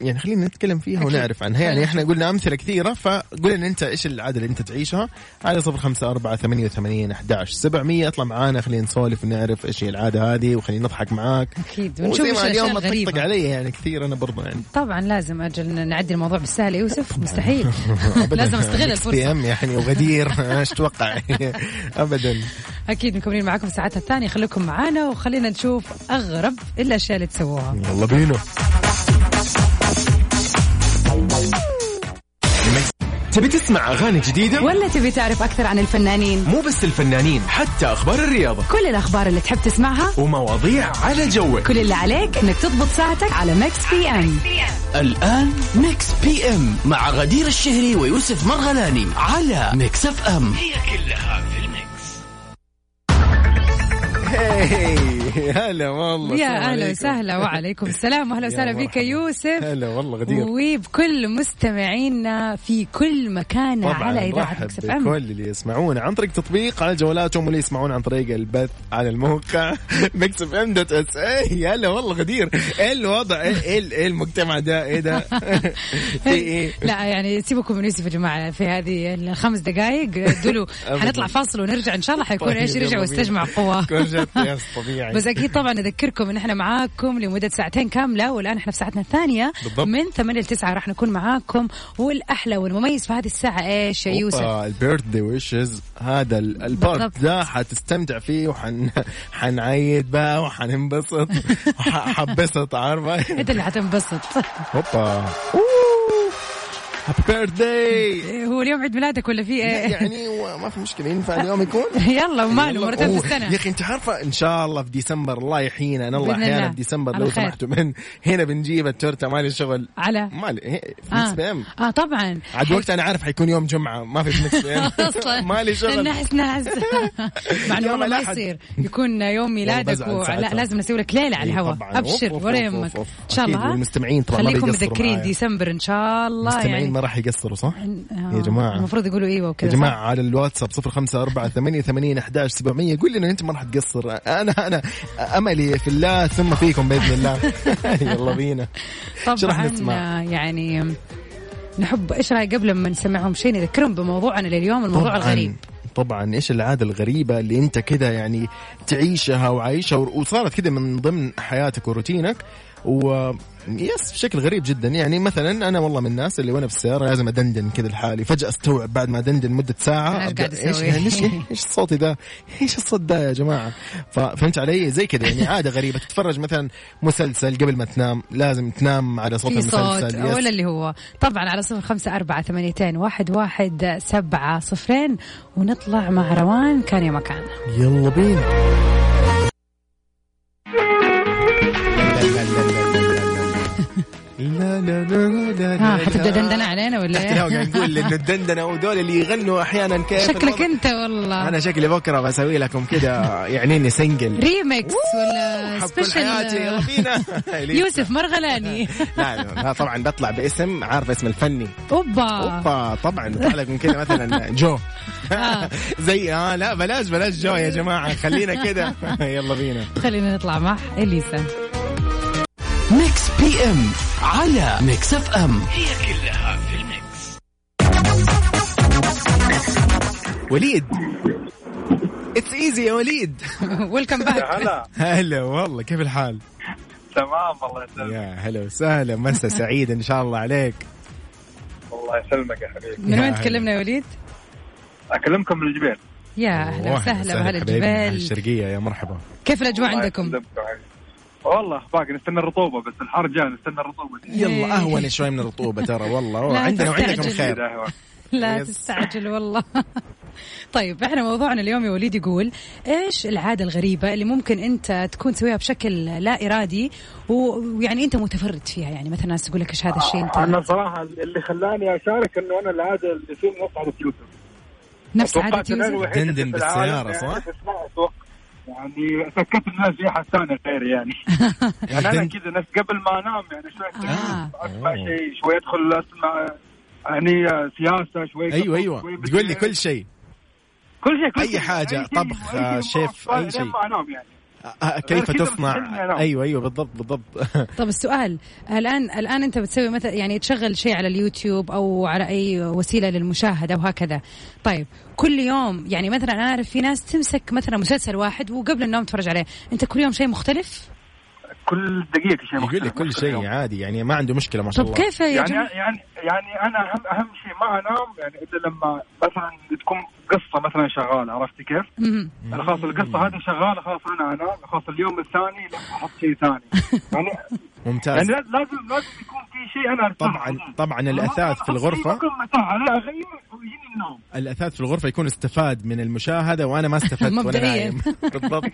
[SPEAKER 1] يعني خلينا نتكلم فيها ونعرف عنها يعني احنا قلنا امثله كثيره فقول لنا انت ايش العاده اللي انت تعيشها على 05488 11700 اطلع معانا خلينا نسولف ونعرف ايش هي العاده هذه وخلينا نضحك معاك
[SPEAKER 2] اكيد ونشوف
[SPEAKER 1] وزي
[SPEAKER 2] ايش
[SPEAKER 1] ما
[SPEAKER 2] الاشياء
[SPEAKER 1] اليوم تطقطق
[SPEAKER 2] الغريبه
[SPEAKER 1] علي يعني كثير انا برضه يعني
[SPEAKER 2] طبعا لازم اجل نعدي الموضوع بالسهل
[SPEAKER 1] <laughs>
[SPEAKER 2] يا يوسف مستحيل <laughs> لازم استغل
[SPEAKER 1] بي <laughs>
[SPEAKER 2] الفرصه
[SPEAKER 1] ام يعني وغدير <laughs> ايش تتوقع ابدا
[SPEAKER 2] اكيد مكملين معاكم ساعتها الثانيه خليكم معانا وخلينا نشوف اغرب الاشياء اللي تسووها
[SPEAKER 1] يلا بينا
[SPEAKER 6] تبي تسمع اغاني جديده
[SPEAKER 2] ولا تبي تعرف اكثر عن الفنانين
[SPEAKER 6] مو بس الفنانين حتى اخبار الرياضه
[SPEAKER 2] كل الاخبار اللي تحب تسمعها
[SPEAKER 6] ومواضيع على جوك
[SPEAKER 2] كل اللي عليك انك تضبط ساعتك على ميكس بي ام
[SPEAKER 6] الان ميكس بي ام مع غدير الشهري ويوسف مرغلاني على ميكس اف ام
[SPEAKER 1] هاي، هلا والله
[SPEAKER 2] يا
[SPEAKER 1] السلام
[SPEAKER 2] اهلا
[SPEAKER 1] عليكم.
[SPEAKER 2] وسهلا وعليكم السلام واهلا
[SPEAKER 1] يا
[SPEAKER 2] وسهلا بك
[SPEAKER 1] مرحبا.
[SPEAKER 2] يا يوسف
[SPEAKER 1] هلا والله غدير
[SPEAKER 2] وبكل مستمعينا في كل مكان
[SPEAKER 1] طبعا
[SPEAKER 2] على اذاعه
[SPEAKER 1] نرحب
[SPEAKER 2] مكسف ام
[SPEAKER 1] بكل اللي يسمعون عن طريق تطبيق على جوالاتهم واللي يسمعون عن طريق البث على الموقع <laughs> ميكس اف ام دوت اس اي هلا والله غدير ايه الوضع ايه ايه إيه المجتمع ده ايه
[SPEAKER 2] <laughs>
[SPEAKER 1] ده <laughs> في ايه
[SPEAKER 2] لا يعني سيبكم من يوسف يا جماعه في هذه الخمس دقائق دولوا
[SPEAKER 1] أبداً.
[SPEAKER 2] حنطلع فاصل ونرجع ان شاء الله حيكون
[SPEAKER 1] طيب،
[SPEAKER 2] ايش يرجع
[SPEAKER 1] يلا
[SPEAKER 2] واستجمع
[SPEAKER 1] بينا.
[SPEAKER 2] قواه
[SPEAKER 1] كل شيء
[SPEAKER 2] <laughs>
[SPEAKER 1] قياس طبيعي
[SPEAKER 2] بس اكيد طبعا نذكركم ان احنا معاكم لمده ساعتين كامله والان احنا في ساعتنا الثانيه
[SPEAKER 1] بالضبط.
[SPEAKER 2] من 8 ل 9 راح نكون معاكم والاحلى والمميز في هذه الساعه ايش يا يوسف؟
[SPEAKER 1] البيرث داي ويشز هذا ال- البارت
[SPEAKER 2] بالضبط.
[SPEAKER 1] ده حتستمتع فيه وحن حنعيد بقى وحننبسط وحبسط
[SPEAKER 2] <laughs>
[SPEAKER 1] عارفه
[SPEAKER 2] انت اللي حتنبسط
[SPEAKER 1] هوبا هابي بيرث
[SPEAKER 2] <laughs>
[SPEAKER 1] داي
[SPEAKER 2] هو اليوم عيد ميلادك ولا في ايه؟
[SPEAKER 1] يعني هو ما في مشكله ينفع اليوم يكون
[SPEAKER 2] <laughs> يلا وماله
[SPEAKER 1] يلا.
[SPEAKER 2] مرتين
[SPEAKER 1] أوه،
[SPEAKER 2] في
[SPEAKER 1] يا <laughs>
[SPEAKER 2] السنه
[SPEAKER 1] اخي انت عارفه ان شاء الله في ديسمبر الله يحيينا انا الله
[SPEAKER 2] بإذن
[SPEAKER 1] احيانا
[SPEAKER 2] الله.
[SPEAKER 1] في ديسمبر
[SPEAKER 2] على
[SPEAKER 1] لو
[SPEAKER 2] خير.
[SPEAKER 1] سمحتوا من هنا بنجيب التورته مالي شغل
[SPEAKER 2] على
[SPEAKER 1] مالي هي- في ميكس بي
[SPEAKER 2] اه,
[SPEAKER 1] ام
[SPEAKER 2] آه طبعا
[SPEAKER 1] عاد وقت انا عارف حيكون يوم جمعه ما في ميكس بي
[SPEAKER 2] <laughs>
[SPEAKER 1] ام
[SPEAKER 2] اصلا
[SPEAKER 1] مالي شغل <laughs>
[SPEAKER 2] نحس نحس مع انه
[SPEAKER 1] يوم
[SPEAKER 2] والله ما
[SPEAKER 1] الأحد.
[SPEAKER 2] يصير يكون يوم ميلادك
[SPEAKER 1] بزعل
[SPEAKER 2] ولا
[SPEAKER 1] ساعتها.
[SPEAKER 2] لازم نسوي لك ليله على
[SPEAKER 1] إيه
[SPEAKER 2] الهواء
[SPEAKER 1] طبعاً.
[SPEAKER 2] ابشر
[SPEAKER 1] أوف، أوف،
[SPEAKER 2] ورا
[SPEAKER 1] أوف،
[SPEAKER 2] يمك
[SPEAKER 1] أوف.
[SPEAKER 2] ان شاء
[SPEAKER 1] أكيد،
[SPEAKER 2] الله ها؟
[SPEAKER 1] والمستمعين طبعاً ما
[SPEAKER 2] خليكم
[SPEAKER 1] بيقصروا
[SPEAKER 2] مذكرين
[SPEAKER 1] معايا.
[SPEAKER 2] ديسمبر ان شاء الله
[SPEAKER 1] المستمعين
[SPEAKER 2] يعني
[SPEAKER 1] ما راح يقصروا صح؟
[SPEAKER 2] آه،
[SPEAKER 1] يا جماعة
[SPEAKER 2] المفروض يقولوا ايوه
[SPEAKER 1] يا
[SPEAKER 2] وكذا
[SPEAKER 1] جماعة
[SPEAKER 2] صح؟
[SPEAKER 1] على الواتساب 054 11 700 قول لنا انت ما راح تقصر انا انا املي في الله ثم فيكم باذن الله <laughs> يلا بينا شو راح
[SPEAKER 2] طبعا
[SPEAKER 1] نسمع؟
[SPEAKER 2] آه، يعني نحب ايش رايك قبل ما نسمعهم شيء نذكرهم بموضوعنا لليوم الموضوع
[SPEAKER 1] طبعاً-
[SPEAKER 2] الغريب
[SPEAKER 1] طبعا ايش العاده الغريبه اللي انت كده يعني تعيشها وعايشها وصارت كده من ضمن حياتك وروتينك و يس بشكل غريب جدا يعني مثلا انا والله من الناس اللي وانا في السياره لازم ادندن كده لحالي فجاه استوعب بعد ما ادندن مده ساعه
[SPEAKER 2] أنا إيش
[SPEAKER 1] أبدأ،
[SPEAKER 2] قاعد
[SPEAKER 1] ايش
[SPEAKER 2] أسوي؟
[SPEAKER 1] يعني ايش
[SPEAKER 2] <laughs>
[SPEAKER 1] ايش صوتي ده ايش الصوت ده يا جماعه ففهمت علي زي كده يعني عاده غريبه تتفرج مثلا مسلسل قبل ما تنام لازم تنام على صوت
[SPEAKER 2] في
[SPEAKER 1] المسلسل
[SPEAKER 2] صوت
[SPEAKER 1] يس.
[SPEAKER 2] ولا اللي هو طبعا على صفر خمسة أربعة ثمانيتين واحد واحد سبعة صفرين ونطلع مع روان كان يا مكان
[SPEAKER 1] يلا بينا لا لا لا لا لا لا لا لا لا لا لا لا <laughs>
[SPEAKER 2] حتبدا دندنه علينا ولا
[SPEAKER 1] لا
[SPEAKER 2] ايه؟
[SPEAKER 1] قاعد نقول انه الدندنه ودول اللي يغنوا احيانا كيف
[SPEAKER 2] <laughs> شكلك
[SPEAKER 1] الوضع.
[SPEAKER 2] انت والله
[SPEAKER 1] انا شكلي بكره بسوي لكم كده يعني اني سنجل
[SPEAKER 2] ريمكس ولا
[SPEAKER 1] حب كل حياتي يلا
[SPEAKER 2] سبيشل
[SPEAKER 1] <laughs> بينا
[SPEAKER 2] يوسف مرغلاني
[SPEAKER 1] لا لا طبعا بطلع باسم عارف اسم الفني
[SPEAKER 2] اوبا
[SPEAKER 1] اوبا طبعا طلع لك من كده مثلا جو
[SPEAKER 2] آه.
[SPEAKER 1] <laughs> زي اه لا بلاش بلاش جو يا جماعه خلينا كده <laughs> يلا بينا
[SPEAKER 2] خلينا نطلع مع <laughs> اليسا
[SPEAKER 6] ميكس بي ام على ميكس اف ام
[SPEAKER 1] وليد اتس ايزي يا وليد
[SPEAKER 2] ويلكم باك
[SPEAKER 7] هلا
[SPEAKER 1] هلا والله كيف الحال؟
[SPEAKER 7] تمام الله يسلمك
[SPEAKER 1] يا هلا وسهلا مسا سعيد ان شاء الله عليك
[SPEAKER 7] الله يسلمك يا حبيبي
[SPEAKER 2] من
[SPEAKER 1] يا
[SPEAKER 2] وين
[SPEAKER 1] هلا.
[SPEAKER 2] تكلمنا يا وليد؟
[SPEAKER 7] اكلمكم من الجبال
[SPEAKER 2] يا اهلا وسهلا وهلا
[SPEAKER 1] حبيبي، من أهل
[SPEAKER 2] الجبال
[SPEAKER 1] الشرقيه يا مرحبا
[SPEAKER 2] كيف الاجواء
[SPEAKER 7] الله
[SPEAKER 2] عندكم؟
[SPEAKER 7] يسلمكم يا حبيبي. والله باقي نستنى الرطوبه بس الحر جاء نستنى الرطوبه دي
[SPEAKER 1] يلا اهون شوي من الرطوبه ترى والله
[SPEAKER 2] لا
[SPEAKER 1] عندنا وعندكم
[SPEAKER 2] تستعجل.
[SPEAKER 1] خير
[SPEAKER 7] كده هو.
[SPEAKER 2] لا
[SPEAKER 1] Yes.
[SPEAKER 2] تستعجل والله <laughs> طيب احنا موضوعنا اليوم يا وليد يقول ايش العاده الغريبه اللي ممكن انت تكون تسويها بشكل لا ارادي و- ويعني انت متفرد فيها يعني مثلا الناس تقول لك ايش هذا الشيء
[SPEAKER 7] انا
[SPEAKER 2] انت
[SPEAKER 7] صراحه اللي خلاني اشارك انه انا العاده اللي فيه نصعد اليوتيوب
[SPEAKER 2] نفس عاده
[SPEAKER 7] توقعت إن أنا
[SPEAKER 2] يوسف
[SPEAKER 7] الوحيد اللي
[SPEAKER 1] دندن
[SPEAKER 7] في العالم
[SPEAKER 1] بالسيارة،
[SPEAKER 7] يعني
[SPEAKER 1] صح؟
[SPEAKER 7] بس ما أتوقع. يعني سكت الناس في احد ثاني غيري يعني يعني انا
[SPEAKER 1] <laughs> دن-
[SPEAKER 7] كذا نفس قبل ما انام يعني شوي
[SPEAKER 2] آه.
[SPEAKER 7] اسمع شيء شوي ادخل اسمع يعني سياسه شوي
[SPEAKER 1] ايوه
[SPEAKER 7] شوي
[SPEAKER 1] ايوه
[SPEAKER 7] بس-
[SPEAKER 1] تقول لي كل شيء
[SPEAKER 7] كل شيء كل
[SPEAKER 1] أي
[SPEAKER 7] شيء.
[SPEAKER 1] حاجة،
[SPEAKER 7] شيء،
[SPEAKER 1] طبخ،
[SPEAKER 7] أي
[SPEAKER 1] آه،
[SPEAKER 7] شيء
[SPEAKER 1] شيف،
[SPEAKER 7] ما
[SPEAKER 1] أي
[SPEAKER 7] أعرف
[SPEAKER 1] شيء.
[SPEAKER 7] ما أنام يعني
[SPEAKER 1] آه، كيف
[SPEAKER 7] غير كده
[SPEAKER 1] تصنع
[SPEAKER 7] بتسلني أنا.
[SPEAKER 1] ايوه ايوه بالضبط بالضبط
[SPEAKER 2] طب السؤال الان الان انت بتسوي مثلا يعني تشغل شيء على اليوتيوب او على اي وسيله للمشاهده وهكذا طيب كل يوم يعني مثلا انا اعرف في ناس تمسك مثلا مسلسل واحد وقبل النوم تتفرج عليه انت كل يوم شيء مختلف
[SPEAKER 7] كل دقيقة
[SPEAKER 1] <laughs>
[SPEAKER 7] شيء
[SPEAKER 1] يقول لي
[SPEAKER 7] مختلف.
[SPEAKER 1] كل شيء عادي يعني ما عنده مشكله ما شاء
[SPEAKER 2] طب
[SPEAKER 1] الله
[SPEAKER 2] كيف يا
[SPEAKER 7] يعني
[SPEAKER 2] جماعه
[SPEAKER 7] يعني يعني أنا أهم أهم شيء ما أنام يعني إلا لما مثلا تكون قصة مثلا شغالة عرفتي كيف؟
[SPEAKER 2] مهم.
[SPEAKER 7] أنا خلاص القصة هذه شغالة خلاص أنا أنام خلاص اليوم الثاني لا أحط شيء ثاني يعني
[SPEAKER 1] ممتاز
[SPEAKER 7] يعني لازم لازم يكون في شيء أنا أرتاح
[SPEAKER 1] طبعا
[SPEAKER 7] عليه.
[SPEAKER 1] طبعا الاثاث في
[SPEAKER 7] أحط شيء
[SPEAKER 1] الغرفه
[SPEAKER 7] بكون مرتاح عليه أغير ويجيني النوم
[SPEAKER 1] الاثاث في الغرفه يكون استفاد من المشاهده وانا ما استفدت وانا
[SPEAKER 2] مبدئياً. <laughs>
[SPEAKER 1] نايم بالضبط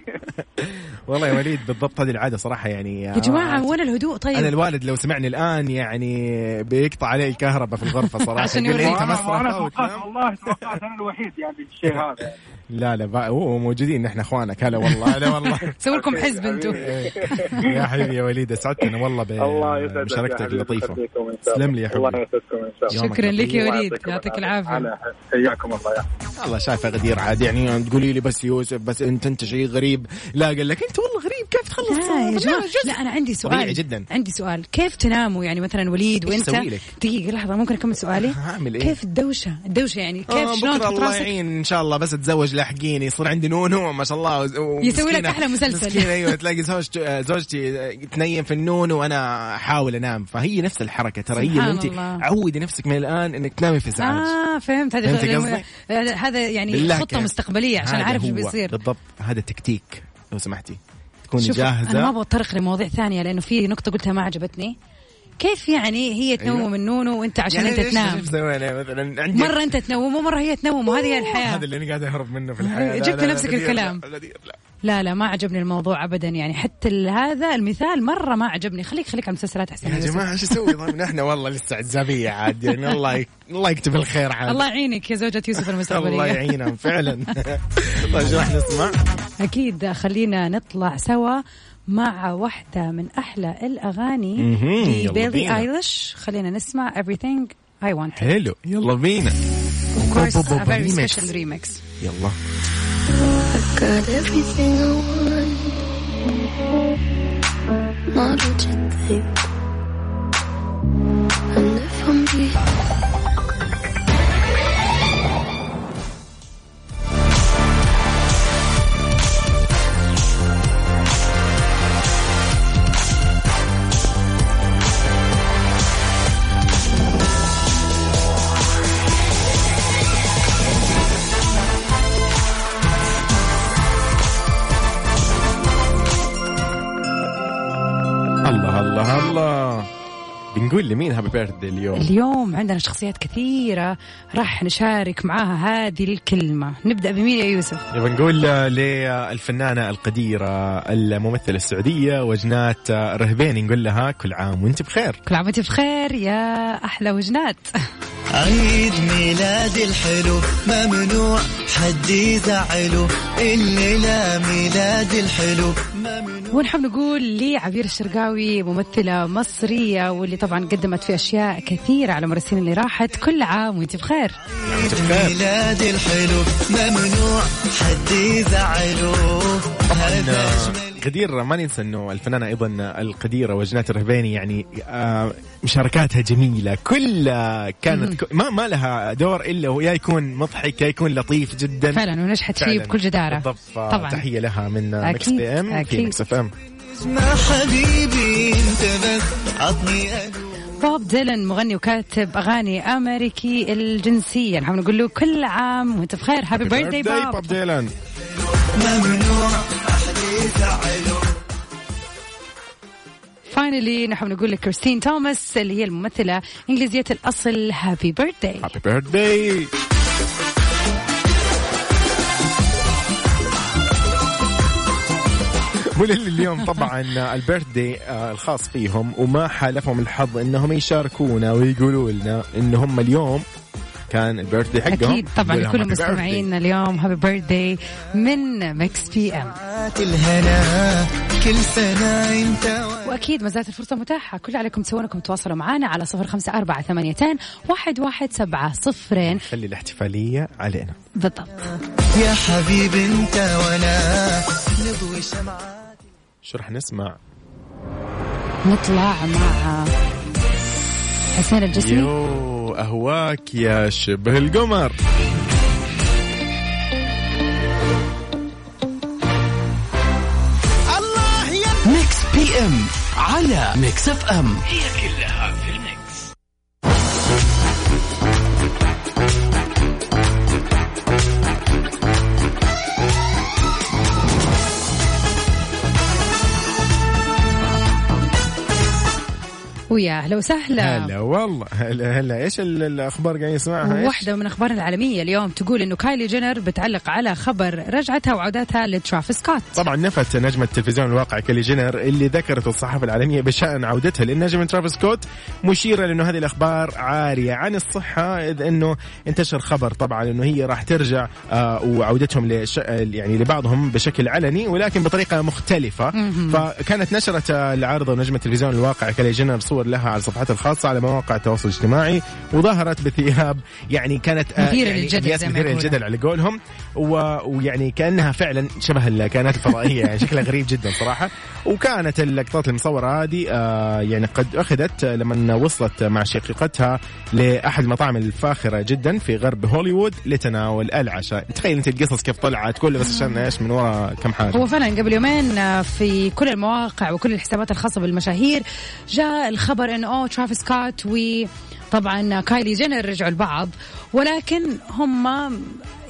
[SPEAKER 1] <laughs> والله يا وليد بالضبط هذه العاده صراحه يعني
[SPEAKER 2] يا جماعه وين الهدوء طيب
[SPEAKER 1] انا الوالد لو سمعني الان يعني بيقطع عليه الكهرباء في
[SPEAKER 2] <laughs>
[SPEAKER 1] الغرفه صراحه
[SPEAKER 2] عشان
[SPEAKER 1] يقول لي
[SPEAKER 2] يوريك.
[SPEAKER 1] انت
[SPEAKER 7] وأنا وأنا
[SPEAKER 1] مسرح
[SPEAKER 7] توقعت
[SPEAKER 1] وتنام.
[SPEAKER 7] والله توقعت أنا الوحيد يعني الشيء
[SPEAKER 1] <laughs>
[SPEAKER 7] هذا يعني.
[SPEAKER 1] لا لا بقى هو موجودين نحن اخوانك هلا والله
[SPEAKER 2] <laughs>
[SPEAKER 1] هلا والله
[SPEAKER 2] سوي لكم حزب انتم
[SPEAKER 1] يا حبيبي يا وليد اسعدتنا والله
[SPEAKER 7] الله يسعدك يا
[SPEAKER 1] بمشاركتك
[SPEAKER 7] حبيبي،
[SPEAKER 1] اللطيفه
[SPEAKER 7] يخليكم إن شاء الله.
[SPEAKER 1] آه، تسلم لي يا
[SPEAKER 7] الله
[SPEAKER 1] حبيبي
[SPEAKER 7] يسعدكم ان شاء الله
[SPEAKER 1] يومك
[SPEAKER 2] شكرا لك يا
[SPEAKER 1] لطيف.
[SPEAKER 2] وليد يعطيك العافيه
[SPEAKER 7] على حياكم الله يا
[SPEAKER 1] والله شايفه غدير عاد يعني تقولي لي بس يوسف بس انت انت شيء غريب لا قال لك انت والله غريب كيف تخلص
[SPEAKER 2] لا يا جماعة
[SPEAKER 1] برنامج؟
[SPEAKER 2] لا أنا عندي سؤال
[SPEAKER 1] طبيعي جداً.
[SPEAKER 2] عندي سؤال كيف تناموا يعني مثلا وليد
[SPEAKER 1] إيش
[SPEAKER 2] وأنت
[SPEAKER 1] أسوي لك؟
[SPEAKER 2] دقيقة لحظة ممكن أكمل سؤالي
[SPEAKER 1] هعمل إيه؟
[SPEAKER 2] كيف الدوشة الدوشة يعني كيف
[SPEAKER 1] آه،
[SPEAKER 2] شلون
[SPEAKER 1] بكره
[SPEAKER 2] تحط
[SPEAKER 1] الله
[SPEAKER 2] راسك
[SPEAKER 1] يعين ان شاء الله بس اتزوج لاحقيني يصير عندي نونو ما شاء الله وز-
[SPEAKER 2] يسوي لك
[SPEAKER 1] ومسكينة-
[SPEAKER 2] أحلى مسلسل.
[SPEAKER 1] مسكينه ايوه تلاقي زوجتي زوجتي آه، تنيم في النون وانا احاول انام فهي نفس الحركه ترى هي اللي
[SPEAKER 2] سبحان
[SPEAKER 1] انت
[SPEAKER 2] الله.
[SPEAKER 1] عودي نفسك من الان انك تنامي في ازعاج
[SPEAKER 2] آه فهمت هذه
[SPEAKER 1] فهمت
[SPEAKER 2] غ-
[SPEAKER 1] قصدي؟
[SPEAKER 2] آه، هذا يعني
[SPEAKER 1] بالله
[SPEAKER 2] خطة
[SPEAKER 1] كيف.
[SPEAKER 2] مستقبلية عشان
[SPEAKER 1] هذا
[SPEAKER 2] أعرف إيش
[SPEAKER 1] هو
[SPEAKER 2] بيصير
[SPEAKER 1] بالضبط هذا تكتيك لو سمحتي تكوني
[SPEAKER 2] شوف أنا ما
[SPEAKER 1] جاهزه
[SPEAKER 2] أبغى أتطرق لمواضيع ثانية لأنه في نقطة قلتها ما عجبتني كيف يعني هي تنوم
[SPEAKER 1] أيوة.
[SPEAKER 2] من نونو وأنت عشان أنت
[SPEAKER 1] ليش-
[SPEAKER 2] تنام
[SPEAKER 1] ليش سوينا مثلا عندي
[SPEAKER 2] مرة أنت تنوم ومرة هي تنوم وهذه هي الحياة
[SPEAKER 1] هذا اللي انا قاعد اهرب منه في الحياه لا،
[SPEAKER 2] جبت
[SPEAKER 1] لا، لا،
[SPEAKER 2] نفسك
[SPEAKER 1] غدير، لا،
[SPEAKER 2] الكلام.
[SPEAKER 1] غدير، لا.
[SPEAKER 2] لا لا ما عجبني الموضوع ابدا يعني حتى ال- هذا المثال مره ما عجبني خليك خليك على المسلسلات احسن
[SPEAKER 1] يا
[SPEAKER 2] يوسف.
[SPEAKER 1] جماعه ايش اسوي طيب نحن والله لسه عزابيه عاد يعني الله يك- الله يكتب الخير عاد
[SPEAKER 2] الله يعينك يا زوجة يوسف
[SPEAKER 1] الله
[SPEAKER 2] المستقبلية <laughs>
[SPEAKER 1] يعينهم فعلا طيب شو راح نسمع؟
[SPEAKER 2] اكيد خلينا نطلع سوا مع واحدة من احلى الاغاني
[SPEAKER 1] مهم، يلا
[SPEAKER 2] لبيلي
[SPEAKER 1] بينا.
[SPEAKER 2] ايليش خلينا نسمع everything I want
[SPEAKER 1] حلو يلا بينا
[SPEAKER 2] of course
[SPEAKER 1] بو- بو-
[SPEAKER 2] a very
[SPEAKER 1] remix.
[SPEAKER 2] special remix
[SPEAKER 1] يلا
[SPEAKER 4] Got everything I want. Model jet babe. And if I'm beat,
[SPEAKER 1] الله الله الله
[SPEAKER 8] بنقول لمين هابي بيرثدي اليوم
[SPEAKER 2] اليوم عندنا شخصيات كثيرة راح نشارك معاها هذه الكلمة نبدأ بمين يا يوسف
[SPEAKER 1] نبي نقول آه، للفنانة القديرة الممثلة السعودية وجنات آه، رهبيني نقول لها كل عام وانت بخير
[SPEAKER 2] كل عام وانت بخير يا أحلى وجنات <laughs>
[SPEAKER 6] عيد ميلادي الحلو ممنوع حد يزعله الليلة ميلادي الحلو
[SPEAKER 2] ونحب نقول لعبير الشرقاوي ممثلة مصرية واللي طبعا قدمت في أشياء كثيرة على مر السنين اللي راحت كل عام وانت بخير
[SPEAKER 1] وانت بخير
[SPEAKER 6] ميلادي الحلو ممنوع حد يزعله هذا
[SPEAKER 1] طبعاً غدير ما ننسى انه الفنانه ايضا القديره وجنات الرهبيني يعني آه، مشاركاتها جميله كلها كانت ك- ما ما لها دور الا هو يا يكون مضحك يا يكون لطيف جدا
[SPEAKER 2] فعلا ونجحت فيه
[SPEAKER 1] فعلاً.
[SPEAKER 2] بكل جدارة
[SPEAKER 1] بالضبط
[SPEAKER 2] طبعاً.
[SPEAKER 1] طبعا تحيه لها من آه، مكس
[SPEAKER 2] أكيد،
[SPEAKER 1] بي ام في
[SPEAKER 2] أكيد.
[SPEAKER 1] مكس اف ام
[SPEAKER 6] ما حبيبي انت بس عطني ألو
[SPEAKER 2] بوب ديلن مغني وكاتب أغاني أمريكي الجنسية نحب نقول له كل عام وانت بخير هابي بيرثداي بوب
[SPEAKER 1] بوب ديلان
[SPEAKER 6] ممنوع حد يزعله
[SPEAKER 2] فاينلي نحن نقول لكريستين توماس اللي هي الممثلة إنجليزية الأصل هابي بيرثداي
[SPEAKER 1] هابي بيرثداي ولل- اليوم طبعا البيرث داي الخاص فيهم وما حالفهم الحظ انهم يشاركونا ويقولوا لنا ان هم اليوم كان البيرث داي حقهم
[SPEAKER 2] أكيد طبعا
[SPEAKER 1] نقول لهم
[SPEAKER 2] لكل
[SPEAKER 1] happy birthday.
[SPEAKER 2] المستمعين اليوم هابي بيرثداي من ميكس بي أم
[SPEAKER 6] عات الهنا كل سنة انت و...
[SPEAKER 2] وأكيد ما زالت الفرصة متاحة كل اللي عليكم تسوونكم تواصلوا معنا على صفر خمسة أربعة ثمانية واحد واحد سبعة صفرين
[SPEAKER 1] خلي الاحتفاليه علينا
[SPEAKER 2] بالضبط
[SPEAKER 6] يا حبيب انت وانا نضوي شمعات
[SPEAKER 1] شو رح نسمع؟
[SPEAKER 2] نطلع مع حسين الجسمي
[SPEAKER 1] يو اهواك يا شبه القمر
[SPEAKER 6] ميكس بي ام على ميكس اف ام
[SPEAKER 2] ويا أهلا وسهلا
[SPEAKER 1] هلا والله هلا هلا ايش ال- الاخبار قاعدين نسمعها؟ إيش؟
[SPEAKER 2] واحدة من أخبارنا العالمية اليوم تقول إنه كايلي جينر بتعلق على خبر رجعتها وعودتها لترافيس سكوت
[SPEAKER 1] طبعا نفت نجمة التلفزيون الواقع كيلي جينر اللي ذكرت الصحافة العالمية بشأن عودتها للنجم ترافيس سكوت مشيرة لأنه هذه الأخبار عارية عن الصحة إذ أنه انتشر خبر طبعا أنه هي راح ترجع آه وعودتهم لش... يعني لبعضهم بشكل علني ولكن بطريقة مختلفة فكانت نشرت آه، العارضة ونجمة التلفزيون الواقع كيلي جينر صور لها على صفحتها الخاصة على مواقع التواصل الاجتماعي وظهرت بثياب يعني كانت آه،
[SPEAKER 2] مثيرة
[SPEAKER 1] يعني
[SPEAKER 2] للجدل
[SPEAKER 1] أبيات
[SPEAKER 2] زي ما
[SPEAKER 1] مثيرة
[SPEAKER 2] يقولون.
[SPEAKER 1] للجدل على قولهم و... ويعني كانها فعلا شبه الكائنات الفضائيه يعني شكلها غريب جدا صراحه وكانت اللقطات المصوره هذه آه يعني قد اخذت لما وصلت مع شقيقتها لاحد المطاعم الفاخره جدا في غرب هوليوود لتناول العشاء تخيل انت القصص كيف طلعت كله بس عشان ايش من وراء كم حاجه
[SPEAKER 2] هو فعلا قبل يومين آه، في كل المواقع وكل الحسابات الخاصة بالمشاهير جاء الخبر انه اوه ترافيس سكوت وطبعا كايلي جينر رجعوا لبعض ولكن هم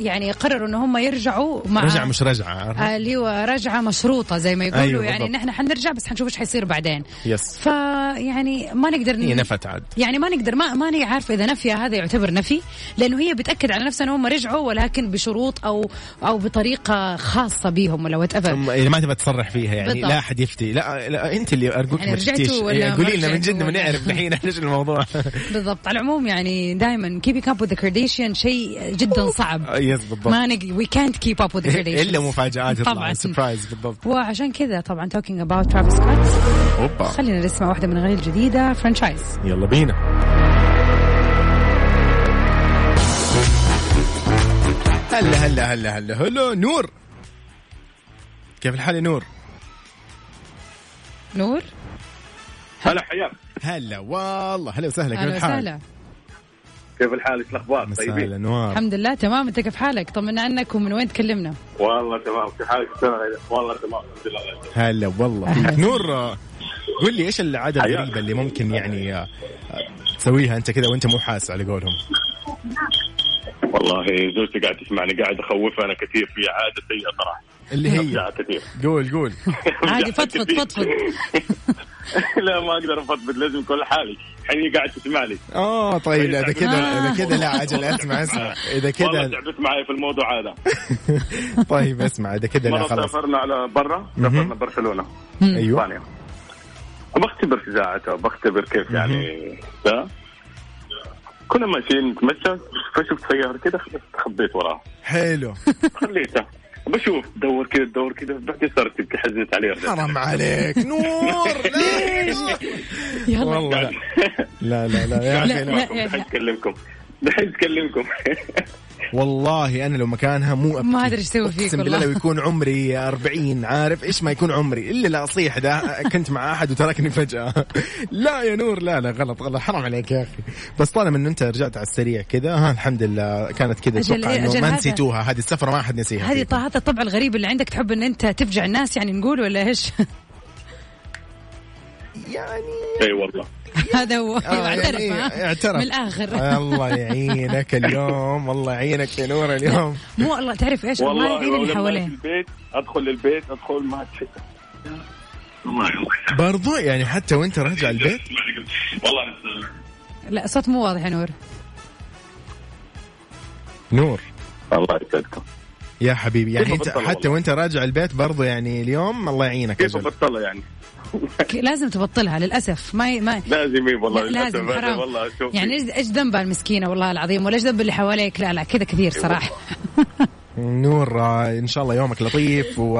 [SPEAKER 2] يعني قرروا انه هم يرجعوا مع آه،
[SPEAKER 1] رجع مش رجعه عارفة؟
[SPEAKER 2] اللي هو رجعة مشروطة زي ما يقولوا
[SPEAKER 1] أيوة،
[SPEAKER 2] أيوة يعني
[SPEAKER 1] بالضبط.
[SPEAKER 2] نحن حنرجع بس حنشوف ايش حيصير بعدين
[SPEAKER 1] يس
[SPEAKER 2] فيعني ما نقدر
[SPEAKER 1] هي
[SPEAKER 2] ن-
[SPEAKER 1] نفت عاد
[SPEAKER 2] يعني ما نقدر ما ماني عارفه اذا نفيها هذا يعتبر نفي لانه هي بتاكد على نفسها انهم رجعوا ولكن بشروط او او بطريقه خاصه بيهم ولا وات
[SPEAKER 1] ثم إذا ما تبغى تصرح فيها يعني
[SPEAKER 2] بالضبط.
[SPEAKER 1] لا احد يفتي لا, لا انت اللي ارجوك
[SPEAKER 2] يعني
[SPEAKER 1] ما
[SPEAKER 2] رجعتوا
[SPEAKER 1] تفتيش
[SPEAKER 2] ولا ما
[SPEAKER 1] قولي لنا من
[SPEAKER 2] رجعتوا
[SPEAKER 1] جد ما
[SPEAKER 2] ولا-
[SPEAKER 1] نعرف الحين
[SPEAKER 2] <laughs>
[SPEAKER 1] ايش الموضوع
[SPEAKER 2] بالضبط على العموم يعني دائما keeping up with the Kardashian شيء جدا صعب
[SPEAKER 1] آه، يس بالضبط
[SPEAKER 2] ما نقدر we can't keep up with the Kardashians
[SPEAKER 1] الا مفاجات
[SPEAKER 2] طبعاً.
[SPEAKER 1] يطلع سربرايز بالضبط
[SPEAKER 2] وعشان كذا طبعا talking about Travis Scott
[SPEAKER 1] اوبا
[SPEAKER 2] خلينا نسمع واحدة من اغانيه الجديدة فرانشايز
[SPEAKER 1] يلا بينا هلا هلا هلا هلا هلا نور كيف الحال يا نور؟
[SPEAKER 2] نور
[SPEAKER 7] هلا حياك
[SPEAKER 1] هلا والله هلا وسهلا كيف
[SPEAKER 2] اهلا
[SPEAKER 1] الحال؟
[SPEAKER 2] وسهلا
[SPEAKER 7] كيف الحال ايش الاخبار
[SPEAKER 1] مساء الانوار
[SPEAKER 2] الحمد لله تمام انت كيف حالك طمنا عنك ومن وين تكلمنا
[SPEAKER 7] والله تمام كيف حالك والله تمام الحمد لله
[SPEAKER 1] هلا والله
[SPEAKER 2] أهلا.
[SPEAKER 1] نور آه، قول لي ايش العاده
[SPEAKER 7] حياك.
[SPEAKER 1] الغريبه اللي ممكن يعني آه، آه، تسويها انت كذا وانت مو حاسس على قولهم
[SPEAKER 7] والله زوجتي قاعد تسمعني قاعد اخوفها انا كثير في عاده سيئه صراحه
[SPEAKER 1] <laughs> اللي هي
[SPEAKER 7] أفزع كثير
[SPEAKER 1] قول قول
[SPEAKER 2] عادي فضفض فضفض
[SPEAKER 9] <laughs> لا ما اقدر افضفض لازم اكون لحالي الحين قاعد تسمع لي
[SPEAKER 1] اه طيب لا، اذا كذا اذا كذا لا عجل اسمع اسمع اذا
[SPEAKER 9] والله
[SPEAKER 1] كذا
[SPEAKER 9] تعبت معي في الموضوع هذا
[SPEAKER 1] <laughs> طيب اسمع اذا كذا لا
[SPEAKER 9] مره
[SPEAKER 1] خلاص
[SPEAKER 9] سافرنا على برا سافرنا برشلونه
[SPEAKER 2] أيوة.
[SPEAKER 1] ايوه
[SPEAKER 9] اسبانيا بختبر شجاعته بختبر كيف يعني لا كنا ماشيين نتمشى فشفت سياره كذا
[SPEAKER 2] <laughs>
[SPEAKER 9] خبيت وراها
[SPEAKER 1] حلو
[SPEAKER 9] خليته بشوف دور كذا دور كذا بعدين صارت تبكي حزنت عليه <laughs>
[SPEAKER 1] حرام عليك نور ليش
[SPEAKER 2] يلا
[SPEAKER 1] والله لا. لا لا لا يا اخي
[SPEAKER 2] لا،
[SPEAKER 1] لا.
[SPEAKER 2] لا.
[SPEAKER 9] دحين اكلمكم دحين
[SPEAKER 2] <laughs>
[SPEAKER 9] اكلمكم
[SPEAKER 1] والله انا لو مكانها مو أبكي.
[SPEAKER 2] ما ادري ايش اسوي فيك
[SPEAKER 1] اقسم بالله لو
[SPEAKER 2] والله
[SPEAKER 1] يكون عمري 40 عارف ايش ما يكون عمري الا لا اصيح ده كنت مع احد وتركني فجاه <laughs> لا يا نور لا لا غلط غلط حرام عليك يا اخي بس طالما ان انت رجعت على السريع كذا ها الحمد لله كانت كذا
[SPEAKER 2] أجل
[SPEAKER 1] اتوقع
[SPEAKER 2] إيه،
[SPEAKER 1] انه
[SPEAKER 2] أجل
[SPEAKER 1] ما
[SPEAKER 2] هذا-
[SPEAKER 1] نسيتوها هذه السفره ما احد نسيها
[SPEAKER 2] هذه
[SPEAKER 1] فيكم.
[SPEAKER 2] طه- هذا الطبع الغريب اللي عندك تحب ان انت تفجع الناس يعني نقول ولا ايش؟
[SPEAKER 9] اي والله
[SPEAKER 2] <laughs> هذا هو
[SPEAKER 1] آه،
[SPEAKER 2] اعترف
[SPEAKER 1] يعني آه،
[SPEAKER 2] ها؟
[SPEAKER 1] اعترف
[SPEAKER 2] من الاخر
[SPEAKER 1] الله يعينك اليوم الله يعينك يا نور اليوم
[SPEAKER 2] مو الله تعرف ايش الله
[SPEAKER 9] والله
[SPEAKER 2] يعين
[SPEAKER 9] لو
[SPEAKER 2] اللي
[SPEAKER 9] لما أجي
[SPEAKER 2] حواليه
[SPEAKER 9] البيت ادخل للبيت ادخل ما أدري. والله
[SPEAKER 1] برضو يعني حتى وانت راجع البيت
[SPEAKER 9] والله
[SPEAKER 2] لا صوت مو واضح يا نور
[SPEAKER 1] نور
[SPEAKER 9] الله يسعدكم
[SPEAKER 1] يا حبيبي يعني
[SPEAKER 9] كيف
[SPEAKER 1] انت
[SPEAKER 9] أبطل
[SPEAKER 1] حتى
[SPEAKER 9] والله.
[SPEAKER 1] وانت راجع البيت برضو يعني اليوم الله يعينك
[SPEAKER 9] كيف
[SPEAKER 1] أجل.
[SPEAKER 9] ابطلها يعني
[SPEAKER 2] ك- لازم تبطلها للاسف ما ي... ما
[SPEAKER 9] لازم إيه والله
[SPEAKER 2] لا، لازم
[SPEAKER 9] للأسف.
[SPEAKER 2] حرام
[SPEAKER 9] والله شوف إيه،
[SPEAKER 2] يعني ايش ايش ذنبها المسكينه والله العظيم ولا ايش ذنب اللي حواليك لا لا كذا كثير
[SPEAKER 9] إيه،
[SPEAKER 2] صراحه <laughs>
[SPEAKER 1] نور آه، ان شاء الله يومك لطيف و...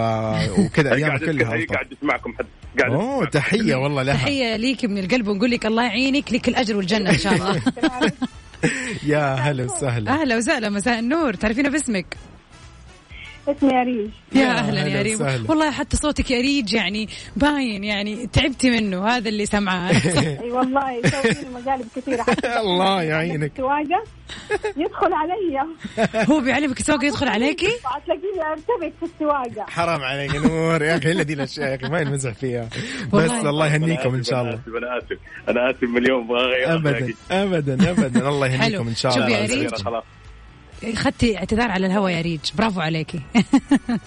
[SPEAKER 1] وكذا ايامك كلها
[SPEAKER 9] هي
[SPEAKER 1] ألطف.
[SPEAKER 9] قاعد اسمعكم حد قاعد
[SPEAKER 1] اوه
[SPEAKER 9] أسمعكم.
[SPEAKER 1] تحيه والله لها
[SPEAKER 2] تحيه ليك من القلب ونقول لك الله يعينك لك الاجر والجنه ان شاء
[SPEAKER 9] <laughs>
[SPEAKER 2] الله <laughs>
[SPEAKER 1] يا هلا وسهلا <laughs>
[SPEAKER 2] اهلا وسهلا مساء النور تعرفينا باسمك
[SPEAKER 4] اسمي أريج
[SPEAKER 2] يا
[SPEAKER 1] يا
[SPEAKER 2] اهلا
[SPEAKER 1] أهلا
[SPEAKER 2] يا ريم
[SPEAKER 1] وسهلا.
[SPEAKER 2] والله حتى صوتك يا ريج يعني باين يعني تعبتي منه هذا اللي
[SPEAKER 9] <laughs>
[SPEAKER 2] سمعان
[SPEAKER 4] اي والله يسوي مقالب
[SPEAKER 1] <laughs>
[SPEAKER 4] كثيره حتى
[SPEAKER 1] الله يعينك
[SPEAKER 4] سواقه يدخل علي
[SPEAKER 2] هو بيعلمك السواقه يدخل عليكي
[SPEAKER 4] تلاقيني ارتبك في السواقه
[SPEAKER 1] حرام عليك يا نور يا اخي الا دي الاشياء يا اخي ما ينمزح فيها بس
[SPEAKER 2] والله.
[SPEAKER 1] الله
[SPEAKER 9] أنا
[SPEAKER 1] يهنيكم ان
[SPEAKER 9] آسف،
[SPEAKER 1] شاء
[SPEAKER 9] أنا
[SPEAKER 1] الله
[SPEAKER 9] آسف، انا اسف انا اسف مليون ما اغير
[SPEAKER 1] ابدا ابدا ابدا الله
[SPEAKER 2] حلو.
[SPEAKER 1] يهنيكم ان شاء
[SPEAKER 2] شوف
[SPEAKER 1] الله
[SPEAKER 2] يا
[SPEAKER 1] يا
[SPEAKER 2] ريت.
[SPEAKER 1] ريت
[SPEAKER 9] خلاص
[SPEAKER 2] اخذتي اعتذار على الهواء يا ريج برافو عليكي <laughs>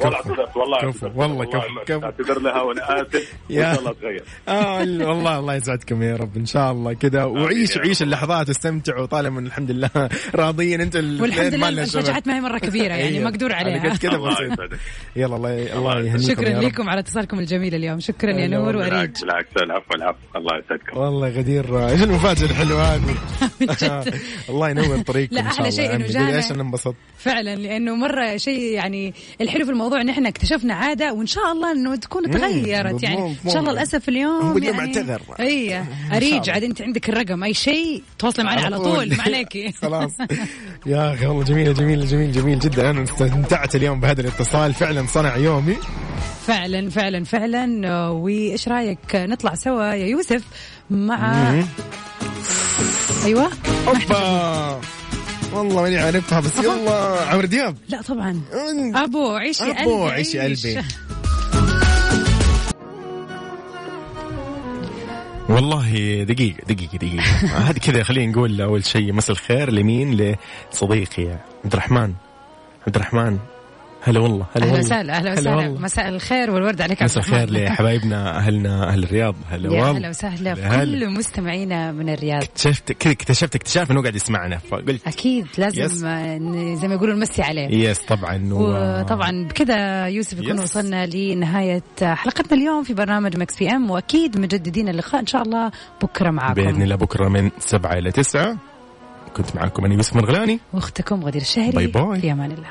[SPEAKER 9] والله اعتذرت والله
[SPEAKER 1] كفو،
[SPEAKER 9] اعتذرت.
[SPEAKER 1] والله كفو،
[SPEAKER 9] أعتذرت.
[SPEAKER 1] كفو.
[SPEAKER 9] اعتذر لها وانا اسف
[SPEAKER 1] يا.
[SPEAKER 9] وان شاء الله اتغير
[SPEAKER 1] اه والله الله يسعدكم يا رب ان شاء الله كذا وعيش
[SPEAKER 9] يا
[SPEAKER 1] عيش
[SPEAKER 9] رب.
[SPEAKER 1] اللحظات واستمتعوا طالما الحمد لله <laughs> راضيين انت الاثنين
[SPEAKER 2] والحمد
[SPEAKER 1] ما
[SPEAKER 2] لله
[SPEAKER 1] لنا شغل.
[SPEAKER 2] انفجعت معي مره كبيره يعني
[SPEAKER 1] أيوه.
[SPEAKER 2] مقدور
[SPEAKER 1] على
[SPEAKER 2] عليها <laughs>
[SPEAKER 1] قد كذا
[SPEAKER 9] <laughs> الله
[SPEAKER 1] بسيط.
[SPEAKER 9] يسعدك.
[SPEAKER 1] يلا الله الله
[SPEAKER 9] الله
[SPEAKER 1] يهنيكم
[SPEAKER 2] شكرا
[SPEAKER 1] يا رب.
[SPEAKER 2] لكم على اتصالكم الجميل اليوم شكرا يا
[SPEAKER 1] أهلا
[SPEAKER 2] نور
[SPEAKER 1] والله.
[SPEAKER 2] واريج
[SPEAKER 9] بالعكس بالعكس العفو العفو الله يسعدكم
[SPEAKER 1] والله غدير آه، ايش المفاجاه الحلوه هذه
[SPEAKER 2] من <laughs> جد.
[SPEAKER 1] <laughs> الله ينور طريقكم
[SPEAKER 2] لا،
[SPEAKER 1] ان شاء
[SPEAKER 2] أحلى
[SPEAKER 1] الله
[SPEAKER 2] شيء إنه
[SPEAKER 1] عندي.
[SPEAKER 2] جانا.
[SPEAKER 1] ليش انا انبسطت
[SPEAKER 2] فعلا لانه مره شيء يعني الحلو في الموضوع ان احنا اكتشفنا عاده وان شاء الله انه تكون تغيرت يعني
[SPEAKER 1] مضمون،
[SPEAKER 2] ان شاء الله
[SPEAKER 1] مضمون.
[SPEAKER 2] للاسف اليوم
[SPEAKER 1] هو اليوم
[SPEAKER 2] يعني
[SPEAKER 1] اعتذر.
[SPEAKER 2] اي اريج عاد انت عندك الرقم اي شيء تواصلي معنا على طول ما عليكي
[SPEAKER 1] <laughs>
[SPEAKER 2] <laughs>
[SPEAKER 1] خلاص يا اخي والله جميل جميل جميل جميل جدا انا استمتعت اليوم بهذا الاتصال فعلا صنع يومي
[SPEAKER 2] فعلا فعلا فعلا آه، وايش رايك نطلع سوا يا يوسف مع ايوه
[SPEAKER 1] اوبا والله ماني عارفها بس يلا عمرو دياب
[SPEAKER 2] لا طبعا ابو عيش يا
[SPEAKER 1] أبو
[SPEAKER 2] قلبي
[SPEAKER 1] عيش يا قلبي.
[SPEAKER 10] والله دقيقة دقيقة
[SPEAKER 1] <laughs>
[SPEAKER 10] دقيقة هذا كذا خلينا نقول أول شيء مساء الخير لمين لصديقي عبد الرحمن عبد الرحمن هلا والله هلا
[SPEAKER 2] اهلا
[SPEAKER 10] والله
[SPEAKER 2] وسهلا اهلا
[SPEAKER 10] هلا
[SPEAKER 2] وسهلا
[SPEAKER 10] والله.
[SPEAKER 2] مساء الخير والورد عليك عبد
[SPEAKER 10] مساء
[SPEAKER 2] <laughs>
[SPEAKER 10] الخير
[SPEAKER 2] الرحمن.
[SPEAKER 10] لحبايبنا أهلنا أهل الرياض هلا
[SPEAKER 2] يا
[SPEAKER 10] والله
[SPEAKER 2] اهلا وسهلا
[SPEAKER 10] هلا.
[SPEAKER 2] بكل مستمعينا من الرياض
[SPEAKER 10] اكتشفت كذا اكتشفت اكتشاف انه قاعد يسمعنا فقلت
[SPEAKER 2] اكيد
[SPEAKER 10] يس.
[SPEAKER 2] لازم آه، ن- زي ما يقولوا نمسي عليه
[SPEAKER 10] يس طبعا و-
[SPEAKER 2] وطبعا بكذا يوسف يكون
[SPEAKER 10] يس.
[SPEAKER 2] وصلنا لنهايه حلقتنا اليوم في برنامج مكس بي ام واكيد مجددين اللقاء ان شاء الله بكره
[SPEAKER 10] باذن
[SPEAKER 2] معاكم
[SPEAKER 10] الله بكره من سبعة الى تسعة كنت معكم انا يوسف مرغلاني
[SPEAKER 2] واختكم غدير الشهري
[SPEAKER 10] باي باي.
[SPEAKER 2] في امان الله